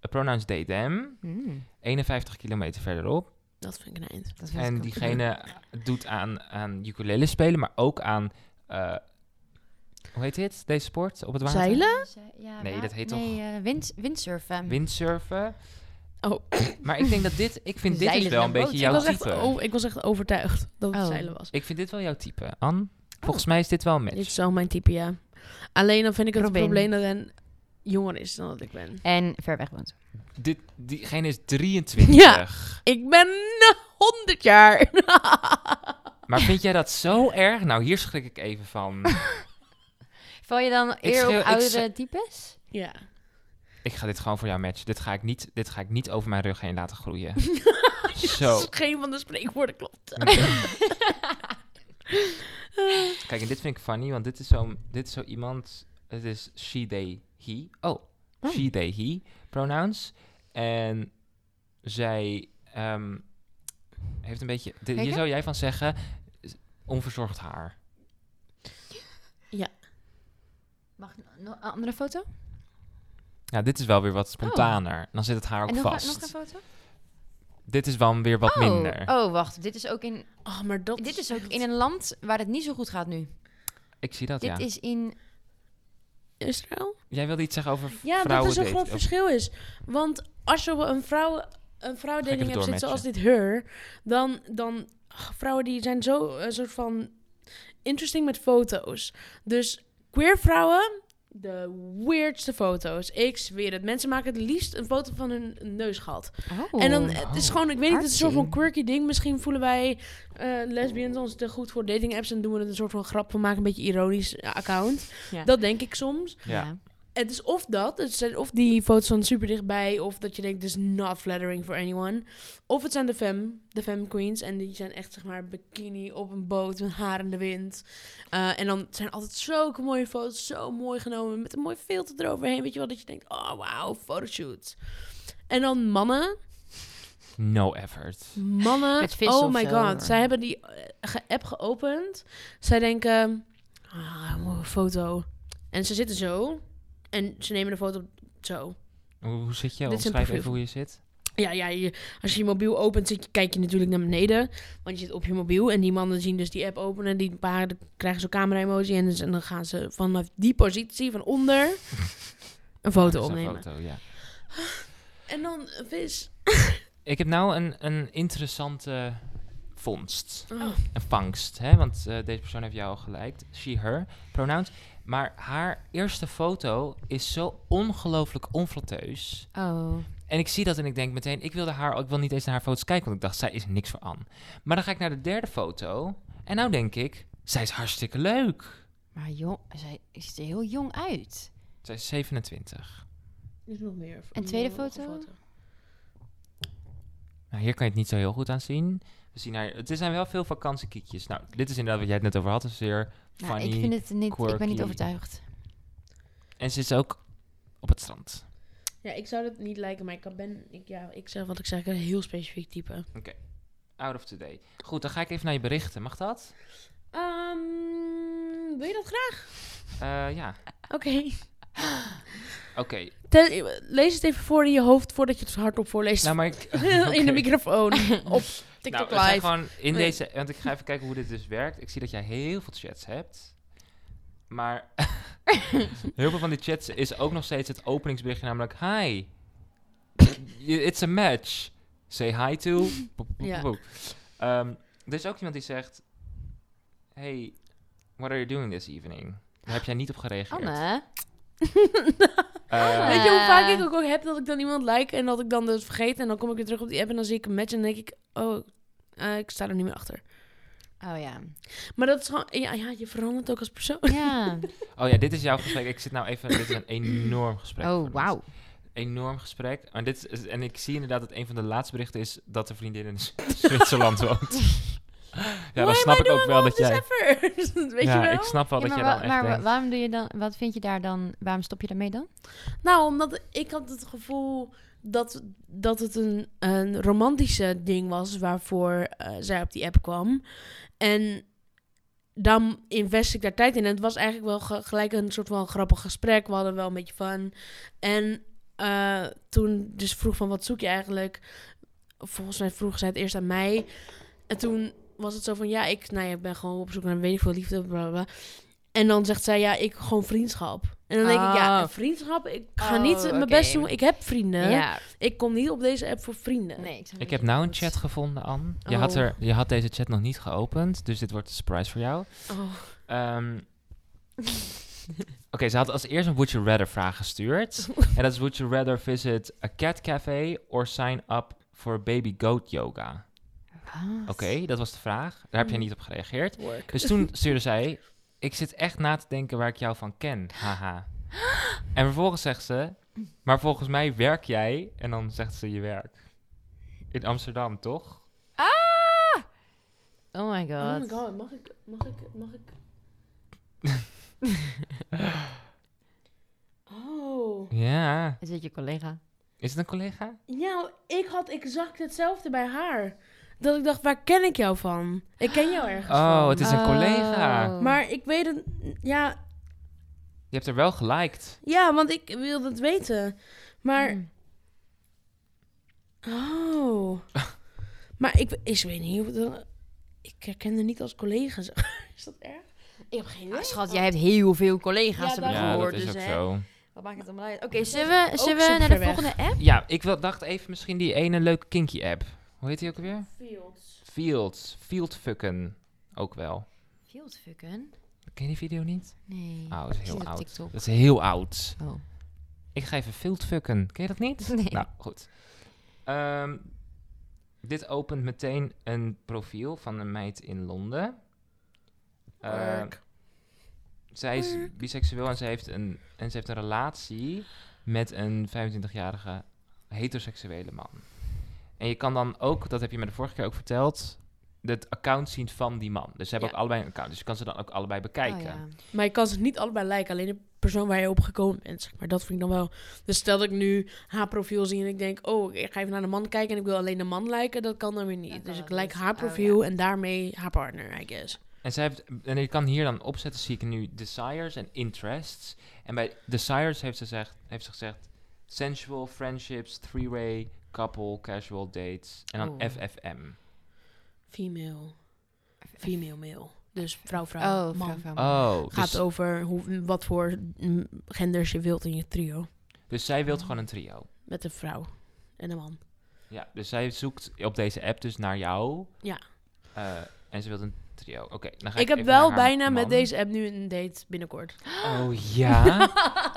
a pronouns they them.
Mm,
51 kilometer verderop.
Dat vind ik een eind.
dat was
En diegene doet aan, aan ukulele spelen, maar ook aan... eh, hoe heet dit? Deze sport? Op het water?
Zeilen?
Ja,
Nee,
wa-
dat heet
nee, eh, wind, windsurfen.
Windsurfen.
Oh.
Maar ik denk dat dit... Ik vind dit
Zeilen
is
in
wel
een
een
boot.
beetje
Ik
jouw
was, echt,
type.
o- ik was echt overtuigd dat het
Oh.
zeilen was.
Ik vind dit wel jouw type. An, volgens mij is dit wel een
Oh. Dit is
match.
zo mijn type, ja. Alleen dan vind ik het
Robin.
probleem dat hij jonger is dan dat ik ben.
En ver weg woont.
Dit, diegene is 23.
Ja. Ik ben 100 jaar.
Maar vind jij dat zo erg? Nou, hier schrik ik even van.
Val je dan eer
schreeuw-
op
ik
oudere
schreeuw-
types?
ja.
Ik ga dit gewoon voor jou matchen. Dit ga ik niet, dit ga ik niet over mijn rug heen laten groeien. Zo.
Geen van de spreekwoorden klopt.
Kijk, en dit vind ik funny, want dit is zo, dit is zo iemand... Het is she, they, he. Oh,
Oh.
she, they, he pronouns. En zij ehm, heeft een beetje... Dit, hier
Kijken?
zou jij van zeggen, is onverzorgd haar.
Mag nog een andere foto?
Ja, Nou, dit is wel weer wat spontaner. Dan zit het haar ook
en nog,
vast.
nog een foto?
Dit is dan weer wat
oh.
minder.
Oh, wacht. Dit is ook in,
Oh, maar dat
dit is ook in een land waar het niet zo goed gaat nu.
Ik zie dat,
Dit
ja.
is in...
Israël?
Jij wilde iets zeggen over v-
Ja, dat
vrouwen
is een
daten,
groot
of-
verschil is. Want als je een vrouw een
Ga ik
vrouwendating
even
hebt zitten zoals
doormatchen.
dit her, dan, dan ach, vrouwen die zijn zo een soort van interesting met foto's. Dus queer vrouwen, de weirdste foto's. Ik zweer het. Mensen maken het liefst een foto van hun neusgat.
Oh.
En dan, het is
Oh.
gewoon, ik weet niet, het is een soort van
Artsy.
quirky ding. Misschien voelen wij eh, lesbians ons te goed voor dating apps en doen we er een soort van grap van maken, een beetje ironisch eh, account.
Ja.
Dat denk ik soms.
Ja.
Het is of dat, het zijn of die foto's van super dichtbij, of dat je denkt, this is not flattering for anyone. Of het zijn de fem, de fem queens, en die zijn echt, zeg maar, bikini op een boot met haar in de wind. Eh, en dan zijn altijd zulke mooie foto's, zo mooi genomen, met een mooi filter eroverheen, weet je wel, dat je denkt, oh wauw, photoshoot. En dan mannen,
No effort.
Mannen,
Met vis
oh
of
my
zo,
god.
hoor.
Zij hebben die eh, ge- app geopend. Zij denken, ah, mooie foto. En ze zitten zo. En ze nemen de foto zo.
Hoe, hoe zit je?
Dit is
Omschrijf
een profiel.
even hoe je zit.
Ja, ja je, als je je mobiel opent, zit je, kijk je natuurlijk naar beneden. Want je zit op je mobiel. En die mannen zien dus die app openen. Die paar krijgen zo'n camera-emoji. En, en dan gaan ze vanaf die positie, van onder, een foto
Dat is een
opnemen.
foto, ja.
En dan eh, een vis.
Ik heb nou een, een interessante vondst.
Oh.
Een vangst, hè? want eh, deze persoon heeft jou al geliked. She, her, pronouns. Maar haar eerste foto is zo ongelooflijk onflatteus.
Oh.
En ik zie dat en ik denk meteen, ik wilde haar, ik wil niet eens naar haar foto's kijken, want ik dacht, zij is niks voor Anne. Maar dan ga ik naar de derde foto en nou denk ik, zij is hartstikke leuk.
Maar jong, zij ziet er heel jong uit.
Zij is 27.
Er is nog meer.
En tweede
Nog een
foto?
Nou, hier kan je het niet zo heel goed aan zien. We zien haar, het zijn wel veel vakantiekiekjes. Nou, dit is inderdaad wat jij het net over had. Een zeer
Nou,
funny.
ik vind het niet... Ik ben niet
quirky.
overtuigd.
En ze is ook op het strand.
Ja, ik zou dat niet lijken, maar ik kan- ben, ik, ja, ik zeg wat ik zeg, een heel specifiek type.
Out of today. Goed, dan ga ik even naar je berichten. Mag dat?
Ehm, wil je dat graag?
Eh, ja.
Oké.
Oké.
Ten- Lees het even voor in je hoofd voordat je het hardop voorleest.
Nou, maar ik...
In de
oké.
microfoon. Op
nou,
TikTok
we zijn
Live.
gewoon in
Nee.
deze... Want ik ga even kijken hoe dit dus werkt. Ik zie dat jij heel veel chats hebt. Maar heel veel van die chats is ook nog steeds het openingsberichtje, namelijk hi. It's a match. Say hi to. Poep, poep,
Ja.
poep. Ehm, er is ook iemand die zegt, hey, what are you doing this evening? Daar heb jij niet op gereageerd.
Anne.
Eh,
Anne.
Weet je hoe vaak ik ook, ook heb dat ik dan iemand like en dat ik dan dus vergeet en dan kom ik weer terug op die app en dan zie ik een match en dan denk ik, oh, eh, ik sta er niet meer achter.
Oh ja.
Maar dat is gewoon, ja, ja je verandert ook als persoon.
Ja.
oh ja, dit is jouw gesprek. Ik zit nou even, dit is een enorm gesprek. voor
Oh,
mensen.
wauw.
enorm gesprek. Maar dit is, en ik zie inderdaad dat een van de laatste berichten is dat de vriendin in Z- Zwitserland woont. ja, dan
Why
snap
am I
ik ook
doing
wel
all
dat
this
jij...
effort? Weet
ja,
je wel?
ik snap wel
Ja,
dat
maar
jij dan
wa-
echt
maar wa-
denkt...
waarom doe je dan, wat vind je daar dan, waarom stop je daarmee dan?
Nou, omdat ik had het gevoel dat, dat het een, een romantische ding was waarvoor eh, zij op die app kwam. En dan invest ik daar tijd in. En het was eigenlijk wel ge- gelijk een soort van grappig gesprek. We hadden wel een beetje van. En eh, toen dus vroeg van wat zoek je eigenlijk? Volgens mij vroeg zij het eerst aan mij. En toen was het zo van ja, ik, nou ja, ik ben gewoon op zoek naar weet ik veel liefde. Bla bla, bla. En dan zegt zij ja, ik gewoon vriendschap. En dan denk ik ja,
Oh.
een vriendschap. Ik ga
Oh,
niet mijn
oké.
best doen. Ik heb vrienden.
Ja.
Ik kom niet op deze app voor vrienden.
Nee, ik, snap
Ik
het
heb nou een
goed.
chat gevonden, Anne. Je, had
Oh.
er, je had deze chat nog niet geopend, dus dit wordt een surprise voor jou.
Oh.
Ehm, Oké, ze had als eerst een Would You Rather vraag gestuurd. en dat is Would You Rather visit a cat café or sign up for baby goat yoga?
Wat?
Oké, dat was de vraag. Daar heb jij niet op gereageerd.
Work.
Dus toen stuurde zij: Ik zit echt na te denken waar ik jou van ken. Haha. En vervolgens zegt ze: Maar volgens mij werk jij. En dan zegt ze je werk. In Amsterdam, toch?
Ah! Oh my
Oh my
god.
god, mag ik, mag ik, mag ik? oh.
Ja.
Is dit je collega?
Is het een collega?
Nou, ik had exact hetzelfde bij haar. Dat ik dacht, waar ken ik jou van? Ik ken jou ergens
Oh,
van.
het is een
Oh.
collega.
Maar ik weet het... Ja,
Je hebt er wel geliked.
ja, want ik wilde het weten. Maar...
Mm.
Oh. Maar ik, ik weet niet hoe... dat- Ik herkende niet als collega's. Is dat erg? Ik heb geen idee.
Ah, schat, jij hebt heel veel
Ja,
collega's heb ik
daarom.
Ja, dat
gehoord, Oh,
is
dus
ook
hè.
zo.
Wat maakt het allemaal uit? Oké, zullen we,
Ook
zullen we naar de
superweg.
volgende app?
Ja, ik wil, dacht even misschien die ene leuke kinky-app. Hoe heet die ook alweer?
Fields.
Fields. Fieldfucken. Ook wel.
Fieldfucken?
Ken je die video niet?
Nee.
Oh, dat is
Ik
heel
zit op
oud.
TikTok.
Dat is heel oud.
Oh.
Ik ga even fieldfucken. Ken je dat niet?
Nee.
Nou, goed. Ehm, dit opent meteen een profiel van een meid in Londen. Eh,
Work.
zij is biseksueel en ze heeft een, en ze heeft een relatie met een 25-jarige heteroseksuele man. En je kan dan ook, dat heb je me de vorige keer ook verteld, het account zien van die man. Dus ze hebben
Ja.
ook allebei een account. Dus je kan ze dan ook allebei bekijken.
Oh, ja.
Maar je kan ze niet allebei lijken. Alleen de persoon waar je op gekomen bent, zeg maar. Dat vind ik dan wel... Dus stel dat ik nu haar profiel zie en ik denk... Oh, ik ga even naar de man kijken en ik wil alleen de man lijken. Dat kan dan weer
Dat
niet.
kan
Dus ik
dat
lijk
niet.
haar
Oh,
profiel en daarmee haar partner, I guess.
En, zij heeft, en je kan hier dan opzetten, zie ik nu desires en interests. En bij desires heeft ze, zegt, heeft ze gezegd sensual, friendships, three-way, couple, casual dates. En dan
Oh.
FFM.
Female. Female male. Dus vrouw, vrouw,
Oh,
man.
vrouw, vrouw, man.
Oh,
Gaat
dus,
over hoe, wat voor mm, genders je wilt in je trio.
dus zij wil gewoon een trio.
Met een vrouw en een man.
Ja, dus zij zoekt op deze app dus naar jou.
Ja.
Eh, en ze wil een trio. Oké, dan ga
Ik
ik
heb
even naar
wel
haar
bijna met
man.
deze app nu een date binnenkort.
Oh ja?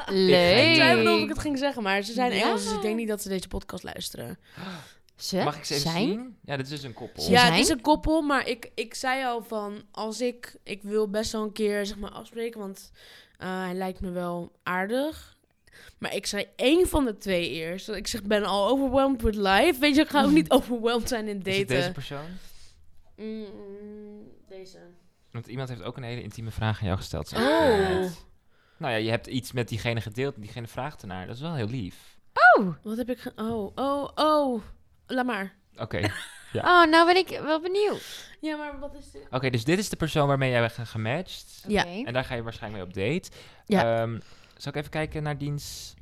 Leuk.
Ik
twijfelde of ik het ging zeggen, maar ze zijn
Ja.
Engels, dus ik denk niet dat ze deze podcast luisteren.
Ze?
Mag ik ze even
zijn?
zien? Ja, dit is dus een koppel.
Ze
ja,
zijn?
het is een koppel, maar ik, ik zei al van, als ik, ik wil best wel een keer zeg maar afspreken, want eh, hij lijkt me wel aardig. Maar ik zei één van de twee eerst. Want Ik zeg, ben al overwhelmed with life. Weet je, ik ga ook niet overwhelmed zijn in
Is het deze
daten.
persoon?
Mm, Deze.
Want iemand heeft ook een hele intieme vraag aan jou gesteld. zag ik
Oh,
net. Nou ja, je hebt iets met diegene gedeeld en diegene vraagt ernaar. Dat is wel heel lief.
Oh.
wat heb ik... ge- Oh, oh, oh. Laat maar.
Oké,
oh, nou ben ik wel benieuwd.
Ja, maar wat is dit?
Oké, dus dit is de persoon waarmee jij bent ge- gematcht.
Ja.
Oké.
En daar ga je waarschijnlijk mee op date.
Ja.
Ehm, zal ik even kijken naar diens...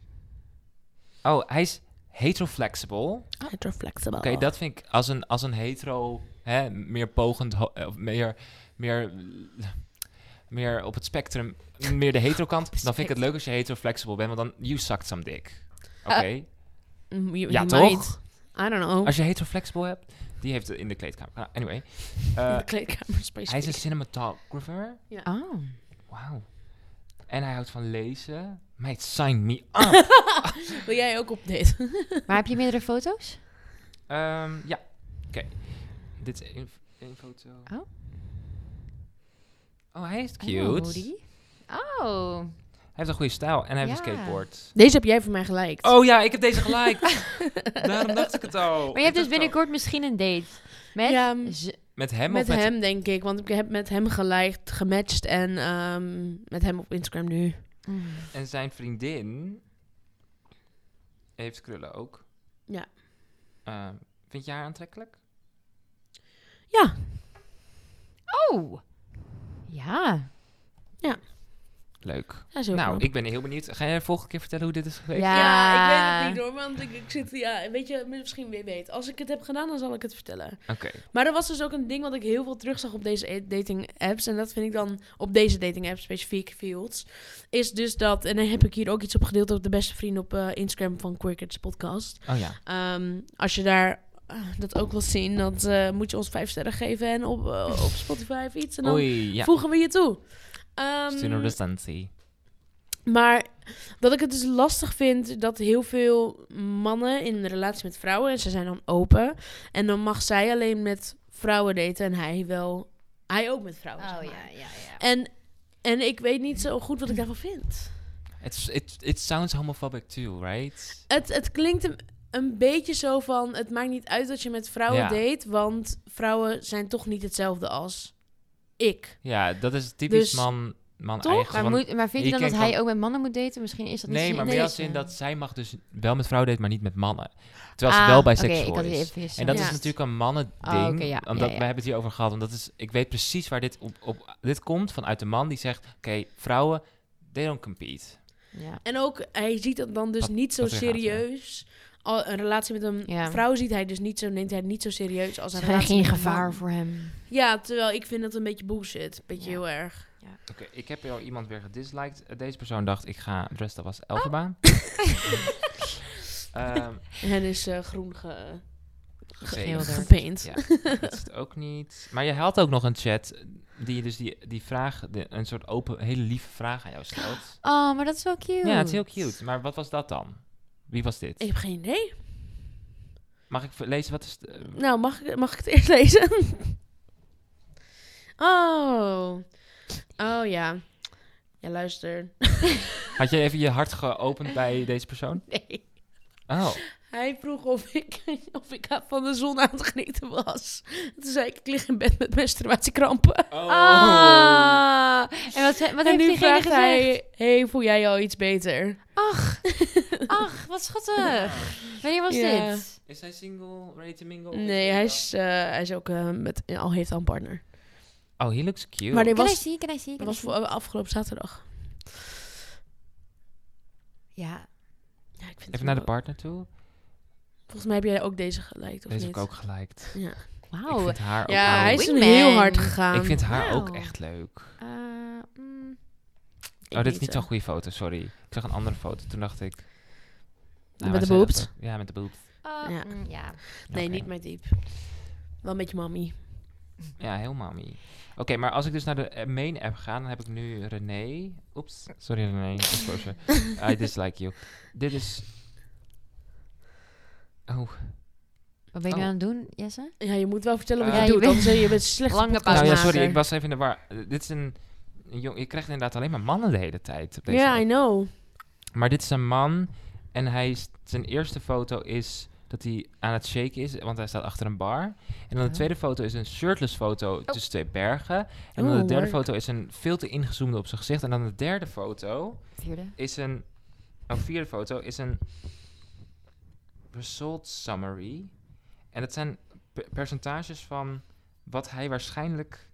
Oh, hij is hetero-flexible. Oké,
Heteroflexible.
dat vind ik als een, als een hetero... Hè, meer pogend... ho- eh, of meer... meer meer op het spectrum, meer de hetero kant, dan vind ik het
spectrum.
leuk als je hetero flexibel bent, want dan you sucked some dick. Oké.
Ah. Mm, you-
ja,
you
toch?
might. I don't know.
Als je hetero flexibel hebt, die heeft het in de kleedkamer. gedaan. Anyway, eh,
In de kleedkamer
hij is een
specifiek.
cinematographer.
Oh.
Wauw. En hij houdt van lezen. Meid, sign me up.
Wil jij ook op dit?
Maar heb je meerdere foto's?
Ehm, ja, oké. Dit is één- één foto.
Oh.
Oh, hij is cute.
Oh. die. Oh.
Hij heeft een goede stijl en hij heeft een
Ja.
skateboard.
Deze heb jij van mij gelijk.
Oh ja, ik heb deze geliked. Daarom dacht ik het al.
Maar je hebt
Ik
dus
dacht al.
binnenkort misschien een date. Met
Ja, mm. m-
z-
Met hem
met
of met...
hem denk ik, want ik heb met hem gelijk gematcht en ehm, met hem op Instagram nu.
Oh.
Mm.
En zijn vriendin heeft krullen ook.
Ja.
Ehm, vind je haar aantrekkelijk?
Ja,
Oh. Ja.
Leuk.
ja zo.
Nou, ik ben heel benieuwd. Ga jij de volgende keer vertellen hoe dit is geweest?
Ja.
Ja, ik weet het niet hoor, want ik, ik zit, ja, weet je, misschien weer weet. Als ik het heb gedaan, dan zal ik het vertellen.
Oké.
Maar er was dus ook een ding wat ik heel veel terugzag op deze e- dating apps. En dat vind ik dan op deze dating apps specifiek fields. Is dus dat, en dan heb ik hier ook iets op gedeeld op de beste vrienden op eh, Instagram van Queer Kids Podcast.
Oh ja.
Ehm, als je daar eh, dat ook wilt zien, dan eh, moet je ons vijf sterren geven en op, eh, op Spotify of iets. En dan
Oei, ja.
voegen we je toe. Ehm,
Student recensie.
maar dat ik het dus lastig vind dat heel veel mannen in een relatie met vrouwen, en ze zijn dan open, en dan mag zij alleen met vrouwen daten en hij wel, hij ook met vrouwen. zeg maar.
Oh, ja, ja.
En, en ik weet niet zo goed wat ik daarvan vind.
It's, it, it sounds homophobic too, right?
Het, het klinkt een, een beetje zo van, het maakt niet uit dat je met vrouwen
Ja.
date, want vrouwen zijn toch niet hetzelfde als ik.
Ja, dat is typisch
Dus-
man, man
Toch?
eigen.
Maar,
want-
moet, maar vind
je
je dan
kan-
dat hij ook met mannen moet daten? Misschien is dat dus
nee,
niet
maar
nee,
meer als
ze-
in dat zij mag dus wel met vrouwen daten, maar niet met mannen. Terwijl
Ah,
ze wel
oké,
biseksueel
ik had het
is.
even vergist,
En dat
ja.
is natuurlijk een mannen ding.
Ah, oké, ja,
Omdat
ja, ja.
we hebben het hier over gehad. Want dat is, ik weet precies waar dit op, op dit komt vanuit de man die zegt: oké, vrouwen, they don't compete.
Ja.
En ook, hij ziet dat dan dus
Pat-
niet zo
patriarchaat, ja.
serieus. Al, een relatie met een
Ja.
vrouw ziet hij dus niet zo, neemt hij niet zo serieus als
Ze
een
zijn
relatie
geen
met een man.
gevaar voor hem.
Ja, terwijl ik vind dat een beetje bullshit. Een beetje
Ja.
heel erg.
Oké, ik heb al iemand weer gedisliked. Eh, Deze persoon dacht, ik ga dress, dat was
Oh.
Elfenbaan. Ehm,
En hij is eh, groen ge-
zeker.
Schilder.
gepaint.
Ja, dat is het ook niet. Maar je had ook nog een chat die dus die, die vraag, de- een soort open, hele lieve vraag aan jou stelt.
Oh, maar dat is wel cute.
Ja, het is heel cute. Maar wat was dat dan? Wie was dit?
Ik heb geen idee.
Mag ik ver- lezen wat is... de-
Nou, mag ik, mag ik het eerst lezen? oh. Oh ja. Ja, luister.
Had je even je hart geopend bij deze persoon?
Nee.
Oh,
Hij vroeg of ik, of ik van de zon aan het genieten was. Toen zei ik, ik lig in bed met menstruatiekrampen.
Ah, en wat, ze-
en
wat heeft
nu
diegene
vraagt
gezegd?
hij, hey, voel jij je al iets beter?
Ach, ach, wat
Ah.
schattig. Wanneer was
Ja.
dit?
Is hij single, ready to mingle?
Oh,
Nee, hij is, eh, hij is ook eh, met, al heeft al een partner.
Oh, he looks cute.
Maar dit
Can I
was,
see, can I
dat
see, can I
was
see?
voor eh, afgelopen zaterdag.
Ja.
Ja, ik vind het
Even naar de
wel-
partner toe.
Volgens mij heb jij ook deze gelijk, of
Deze heb
niet?
ik ook geliked.
Ja,
Ik
Wauw.
vind haar ook
ja
wel
hij is
Wingman.
heel hard gegaan.
Ik vind haar
Wauw.
ook echt leuk.
Eh, mm,
Ik
Oh, dit is niet
zo.
zo'n goede foto, sorry. Ik zag een andere foto, toen dacht ik...
Met
waar
de
zijn dat
boobs?
ook? Ja, met de boobs.
ah,
Ja.
mm, ja.
Nee,
Oké.
niet mijn diep. Wel een beetje mami.
Ja, helemaal niet. Oké, maar als ik dus naar de eh, main app ga, dan heb ik nu René. Oeps, sorry René. Exposure. I dislike you. Dit is... Oh,
Wat ben je nu
Oh.
aan het doen, Jesse?
Ja, je moet wel vertellen wat
Eh,
je
ja, je
doet,
bent-
anders ben je bent slecht
Lange pauze.
nou ja,
maken.
sorry, ik was even in de war. Eh, dit is een... een jong, je krijgt inderdaad alleen maar mannen de hele tijd. op deze
Ja,
app.
I know.
Maar dit is een man en hij is, zijn eerste foto is dat hij aan het shaken is, want hij staat achter een bar. En dan de
Oh.
tweede foto is een shirtless foto tussen twee bergen. En dan de
Oh. Oeh,
derde
leuk.
foto is een veel te ingezoomde op zijn gezicht. En dan de derde foto
Vierde.
is een, oh vierde foto is een result summary. En dat zijn pe- percentages van wat hij waarschijnlijk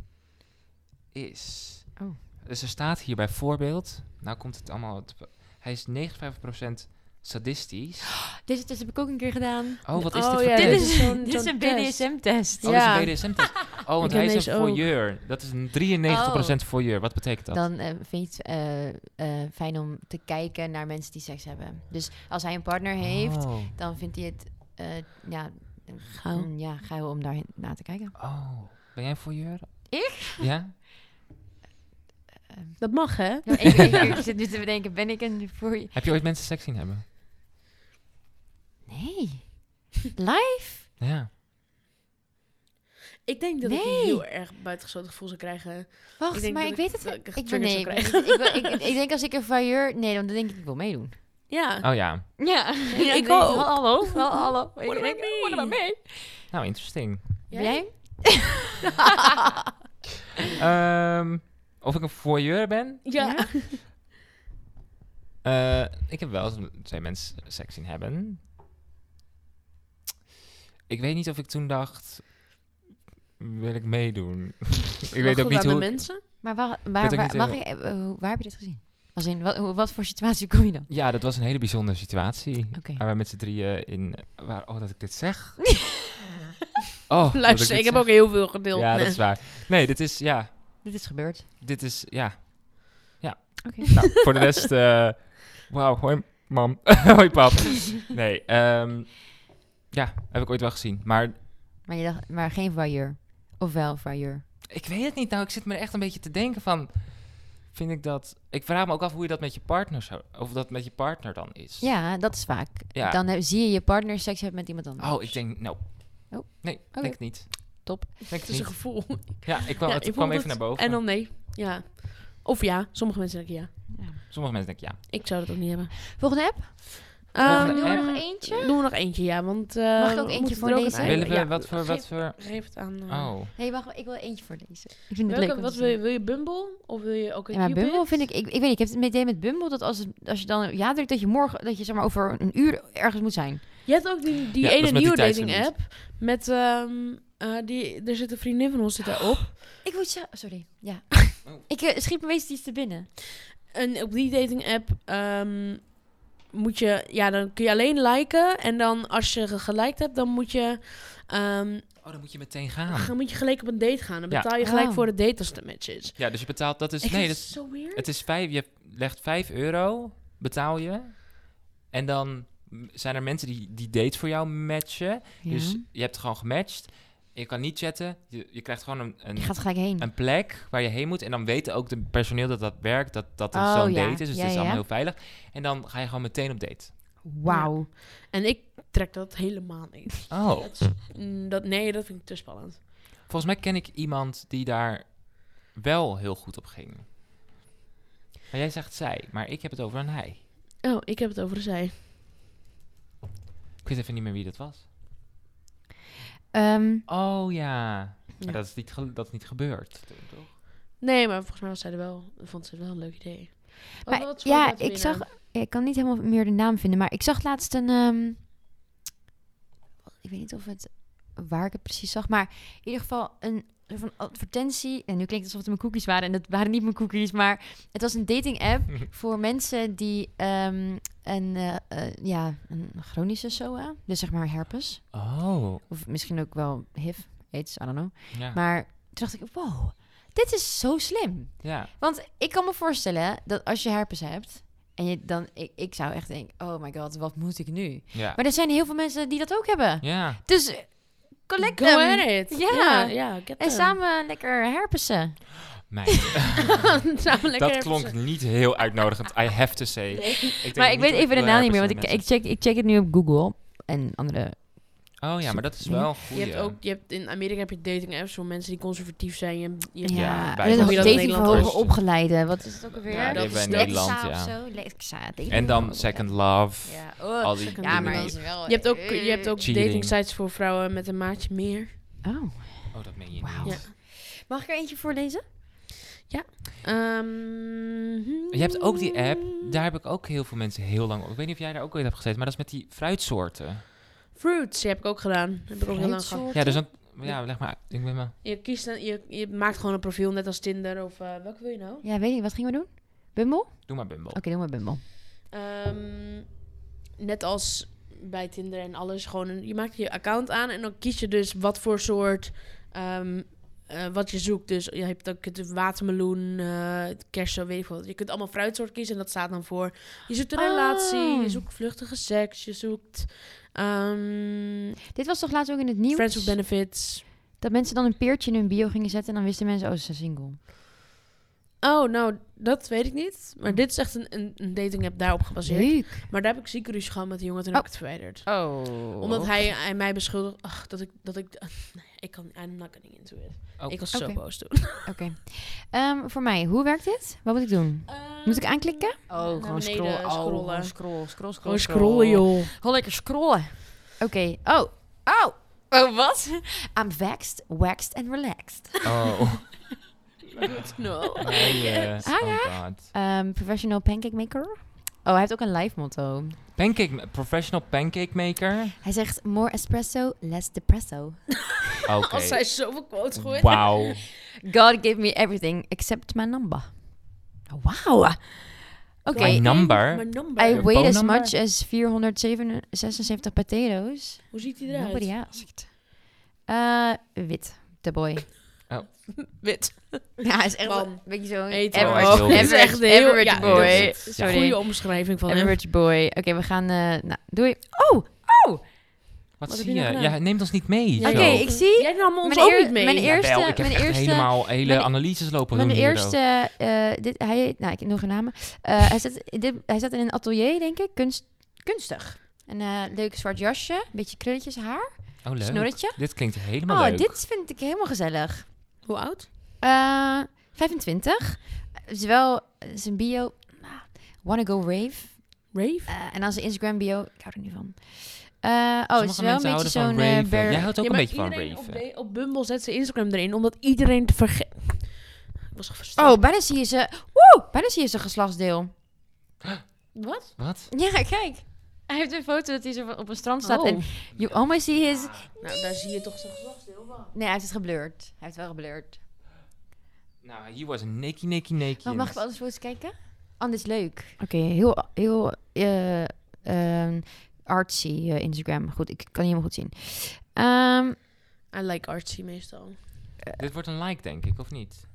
is.
Oh.
Dus er staat hier bijvoorbeeld, nou komt het allemaal, te- hij is 59% sadistisch.
Deze test heb ik ook een keer gedaan.
Oh, wat is
Oh,
dit voor
ja,
test?
dit is zo'n- zo'n test.
BDSM-test.
Oh,
Ja.
dit is een BDSM-test. Oh, want
Ik
hij
ken
is een
deze ook.
foyeur. Dat is een 93% foyeur. Wat betekent dat?
Dan eh, vind je het eh, eh, fijn om te kijken naar mensen die seks hebben. Dus als hij een partner heeft,
Oh.
dan vindt hij het eh, ja,
Gauw.
mm, ja, gauw om daar naar te kijken.
Oh. Ben jij een foyeur?
Ik?
Ja?
Dat mag, hè?
Nou, ik, ik, ik zit nu te bedenken, ben ik een voor je?
Heb je ooit mensen seks zien hebben?
Nee. Live?
Ja.
Ik denk dat ik
Nee.
heel erg buitengesloten gevoel zou krijgen.
Wacht,
Ik denk
maar
dat
ik weet het.
dat ik
Ik ben
triggers
nee.
zou
Ik,
krijgen.
ik, wil- ik, ik denk als ik een failleur... Nee, dan denk ik, ik wil meedoen.
Ja.
Ah.
Oh ja.
Ja,
ik
ik
ook.
ook. Hallo, hallo, hallo.
What about me?
What about me?
Nou, interesting.
Jij?
Ehm, of ik een foyeur ben?
Ja.
Ja?
Eh, ik heb wel eens twee mensen seks zien hebben. Ik weet niet of ik toen dacht... Wil ik meedoen? ik weet
Mag
ook
dat
niet
aan
hoe...
de mensen?
Maar waar,
weet
waar,
ook
waar,
niet
mag
heel-
ik, eh, eh, waar heb je dit gezien? Als in, wat, hoe- wat voor situatie kom je dan?
Ja, dat was een hele bijzondere situatie.
Oké.
Waar we met z'n drieën in... Waar, oh, dat ik dit zeg. oh, dat dit
Luister, ik heb
zeg.
ook heel veel gedeeld.
Ja, dat
Nee.
is waar. Nee, dit is... Ja,
Dit is gebeurd.
dit is... Ja. Ja.
Oké.
Nou, voor de rest... eh, Wauw, hoi mam. hoi pap. Nee, ehm, ja, heb ik ooit wel gezien. Maar
Maar, je dacht, maar geen voyeur. Of wel voyeur.
ik weet het niet. Nou, ik zit me echt een beetje te denken van... Vind ik dat... Ik vraag me ook af hoe je dat met je partner zou... Of dat met je partner dan is.
Ja, dat is vaak.
Ja.
Dan heb- zie je je partner seks hebben met iemand anders.
Oh, ik denk... Nou.
Oh.
Nee, ik denk het niet.
Top.
Denk
Het
het
is een
niet.
gevoel.
Ja, ik kwam,
Ja,
Oh, het
ik
kwam
vond
even
het-
naar boven.
En dan nee. Ja. Of ja. Sommige mensen denken ja.
Sommige mensen denken ja.
Ik zou dat ook niet hebben.
Volgende app?
Volgende
Ehm,
app.
Nog eentje?
Doen we nog eentje, ja. Want, eh,
Mag ik ook
we
eentje
moeten er
voorlezen?
een-
Willen we
ja,
wat voor... Wat
Geef,
voor
geef het aan... eh,
oh.
Hé, wacht, ik wil eentje voorlezen. Ik vind het
Welke,
leuk. om
wat
te
wil
doen.
je? Wil je Bumble? Of wil je ook een
Ja, maar
Cupid?
Bumble vind ik, ik, ik weet niet, ik heb het meteen met Bumble dat als, het- als je dan ja drukt dat je morgen, dat je zeg maar over een uur ergens moet zijn.
Je hebt ook die,
Ja,
die
dat is met
ene
die
nieuwe dating
tijdslimiet.
app. Met, ehm, eh, die, er zit een vriendin van ons zit daarop.
Ik moet zo, sorry, ja. Ik eh, schiet me meestal iets te binnen.
En op die dating app ehm, moet je, ja, dan kun je alleen liken. En dan als je geliked hebt, dan moet je, ehm,
Oh, dan moet je meteen gaan.
dan moet je gelijk op een date gaan. Dan
Ja.
betaal je gelijk
Oh.
voor de date als het een match is.
Ja, dus je betaalt... Dat is...
Ik
nee,
vind
dat
het zo weird.
Het is vijf, je legt 5 euro, betaal je. En dan m- zijn er mensen die die dates voor jou matchen. Dus je hebt gewoon gematcht. Je kan niet chatten. Je, je krijgt gewoon een,
je
een,
gaat gelijk heen.
een plek waar je heen moet. En dan weten ook de personeel dat dat werkt, dat dat het
Oh,
zo'n
ja.
date is. Dus
Ja,
het is
ja,
allemaal
ja.
heel veilig. En dan ga je gewoon meteen op date.
Wauw.
En ik trek dat helemaal niet.
Oh.
Mm, Dat, nee, dat vind ik te spannend.
Volgens mij ken ik iemand die daar wel heel goed op ging. Maar jij zegt zij, maar ik heb het over een hij.
Oh, ik heb het over de zij.
Ik weet even niet meer wie dat was.
Ehm,
Oh ja.
Ja.
Maar dat is niet, ge- dat is niet gebeurd. toen, toch?
Nee, maar volgens mij was zij er wel. Vond ze het wel een leuk idee. Wat-
Maar
wat voor
ja,
Oh, dat
ik
binnen?
zag, ik kan niet helemaal meer de naam vinden, maar ik zag laatst een, ehm, ik weet niet of het waar ik het precies zag, maar in ieder geval een soort van advertentie. En nu klinkt het alsof het mijn cookies waren en dat waren niet mijn cookies, maar het was een dating app voor mensen die ehm, een, eh, eh, ja, een chronische SOA, dus zeg maar herpes,
Oh.
of misschien ook wel HIV, AIDS, I don't know.
Ja.
Maar toen dacht ik, wow, dit is zo slim.
ja.
Want ik kan me voorstellen dat als je herpes hebt en je dan, ik, ik zou echt denken, oh my god, wat moet ik nu?
Ja.
Maar er zijn heel veel mensen die dat ook hebben.
Ja.
Dus eh, collect
Go
them.
at it.
Ja.
ja, ja get
En
them.
samen lekker herpesen.
Meid,
samen lekker
dat
even
klonk
zo-
niet heel uitnodigend. I have to say. denk
maar
niet
ik
eh,
weet
dat
even de
veel
naam niet meer, want ik,
herpes
ik, check, ik check het nu op Google en andere.
mensen- Oh ja, maar dat is
Nee.
wel goed.
Je hebt ook, je hebt, in Amerika heb je dating apps voor mensen die conservatief zijn. Je, je,
Ja,
Ja, bij-
en
Hoe
dan
je dat in
dating voor
Nederland
hoger
doet.
opgeleiden. Wat is het ook alweer?
Ja, die
dat
hebben wij
is
in
dat.
Nederland,
Lexa of
ja.
zo. Lexa, dating
En
voor
dan
hoger
Second Love.
opgeleiden. Ja, oh.
Al die
Second
dingen.
ja, maar
Love.
dat is wel... eh,
je hebt ook, je hebt ook
Cheating.
dating sites voor vrouwen met een maatje meer.
Oh,
Oh, dat meen je
wauw.
niet.
Ja.
Mag ik er eentje voorlezen?
Ehm,
Je hebt ook die app, daar heb ik ook heel veel mensen heel lang op. Ik weet niet of jij daar ook ooit hebt gezeten, maar dat is met die fruitsoorten.
Fruits heb ik ook gedaan. Heb ik ook heel lang gehad.
Ja, dus dan... Ja, leg maar uit. Ik ben maar...
Je, kiest een, je, je maakt gewoon een profiel, net als Tinder. Of eh, welke wil je nou?
Ja, weet ik. Wat gingen we doen? Bumble? Oké,
Doe maar Bumble.
doe maar Bumble.
Ehm, net als bij Tinder en alles. Gewoon een- je maakt je account aan en dan kies je dus wat voor soort ehm, eh, wat je zoekt. Dus je hebt ook het watermeloen, eh, kersen, weet ik wat. Je kunt allemaal fruitsoort kiezen en dat staat dan voor. Je zoekt een
Oh.
relatie, je zoekt vluchtige seks, je zoekt ehm,
Dit was toch laatst ook in het nieuws?
friends with benefits.
Dat mensen dan een peertje in hun bio gingen zetten en dan wisten mensen, oh, ze zijn single.
Oh, nou, dat weet ik niet. Maar dit is echt een, een, een dating app daarop gebaseerd.
Leuk.
Maar daar heb ik zieke ruzie gehad met die jongen, toen
Oh.
heb ik het verwijderd.
Oh.
Omdat hij, hij mij beschuldigde ach, dat ik... Dat ik nee, ik kan... I'm not getting into it.
Oh.
Ik was
Oké.
zo boos toen.
Oké. Ehm, voor mij, hoe werkt dit? Wat moet ik doen? Moet ik aanklikken? Oh,
beneden scrollen.
scroll, scroll,
Gewoon scrollen, joh.
Gewoon lekker scrollen. Oké. Oh. Oh. Oh, wat? I'm vexed, waxed and relaxed.
Oh,
No.
nee, eh,
Ah,
oh god.
Ehm, professional pancake maker. Oh, hij heeft ook een live motto.
Pancake, ma- professional pancake maker?
Hij zegt, more espresso, less depresso.
Oké.
Als zij zoveel quotes gooit.
Wauw.
God gave me everything except my number. Wauw. Oké.
My number?
Mijn number.
I
Your
weighed
phone
as
number?
much as 476 potatoes.
Hoe ziet hij eruit?
Nobody asked. Eh, wit. De boy.
Wit.
Ja, hij is echt
Man.
wel een beetje zo'n
Eten.
Oh, hij
average,
is heel wit.
average,
Hij is echt heel-
average
ja,
heel
boy.
wit. Ja.
Sorry.
Goede omschrijving van hem.
Average boy. Oké, we gaan... eh nou, doei.
Wat,
heb
zie
je
je?
nou
Ja,
gedaan?
Jij neemt ons niet mee.
Oké,
zo.
ik zie...
Jij nam ons
Mijn
ook
eer-
niet mee.
mijn eer- eerste-
Jawel, ik heb
mijn
echt
eerste-
helemaal hele
mijn- e-
analyses lopen
Mijn
doen hier,
eerste...
joh.
eh, dit, hij, nou, ik nog een namen. Eh, hij, zat, dit, hij zat in een atelier, denk ik. Kunst, kunstig. Een eh, leuk zwart jasje. Beetje krulletjes haar.
Oh, leuk.
Snorretje.
Dit klinkt helemaal
Oh,
leuk.
dit vind ik helemaal gezellig.
Hoe oud?
Eh, 25. Is wel eh, zijn bio. nou, Wanna go rave.
Rave?
Eh, en dan zijn Instagram bio. Ik hou er niet van. Eh, oh, het is
Sommige mensen
wel een beetje
houden van
zo'n... eh,
raven.
bear-
Jij houdt ook
Ja,
een
maar
beetje van
iedereen
raven.
Op, de- op Bumble zet ze Instagram erin, omdat iedereen te vergeten... Ik was gefrustreerd.
Oh, bijna zie je ze... Woe! Bijna zie je zijn geslachtsdeel.
Wat?
Wat?
Ja, kijk. Hij heeft een foto dat hij zo van- op een strand staat.
Oh.
En you almost see his...
Nou, daar zie je toch zijn geslachtsdeel van.
Nee, hij heeft het geblurred. Hij heeft wel geblurred.
Nou, hier was een nakey, nakey, nakey.
Maar mag ik wel eens foto's kijken? Anders Oh, leuk. Oké, heel, heel eh, ehm, artsy eh, Instagram. Goed, ik kan niet helemaal goed zien. Ehm,
I like artsy meestal.
Dit wordt een like, denk ik, of niet?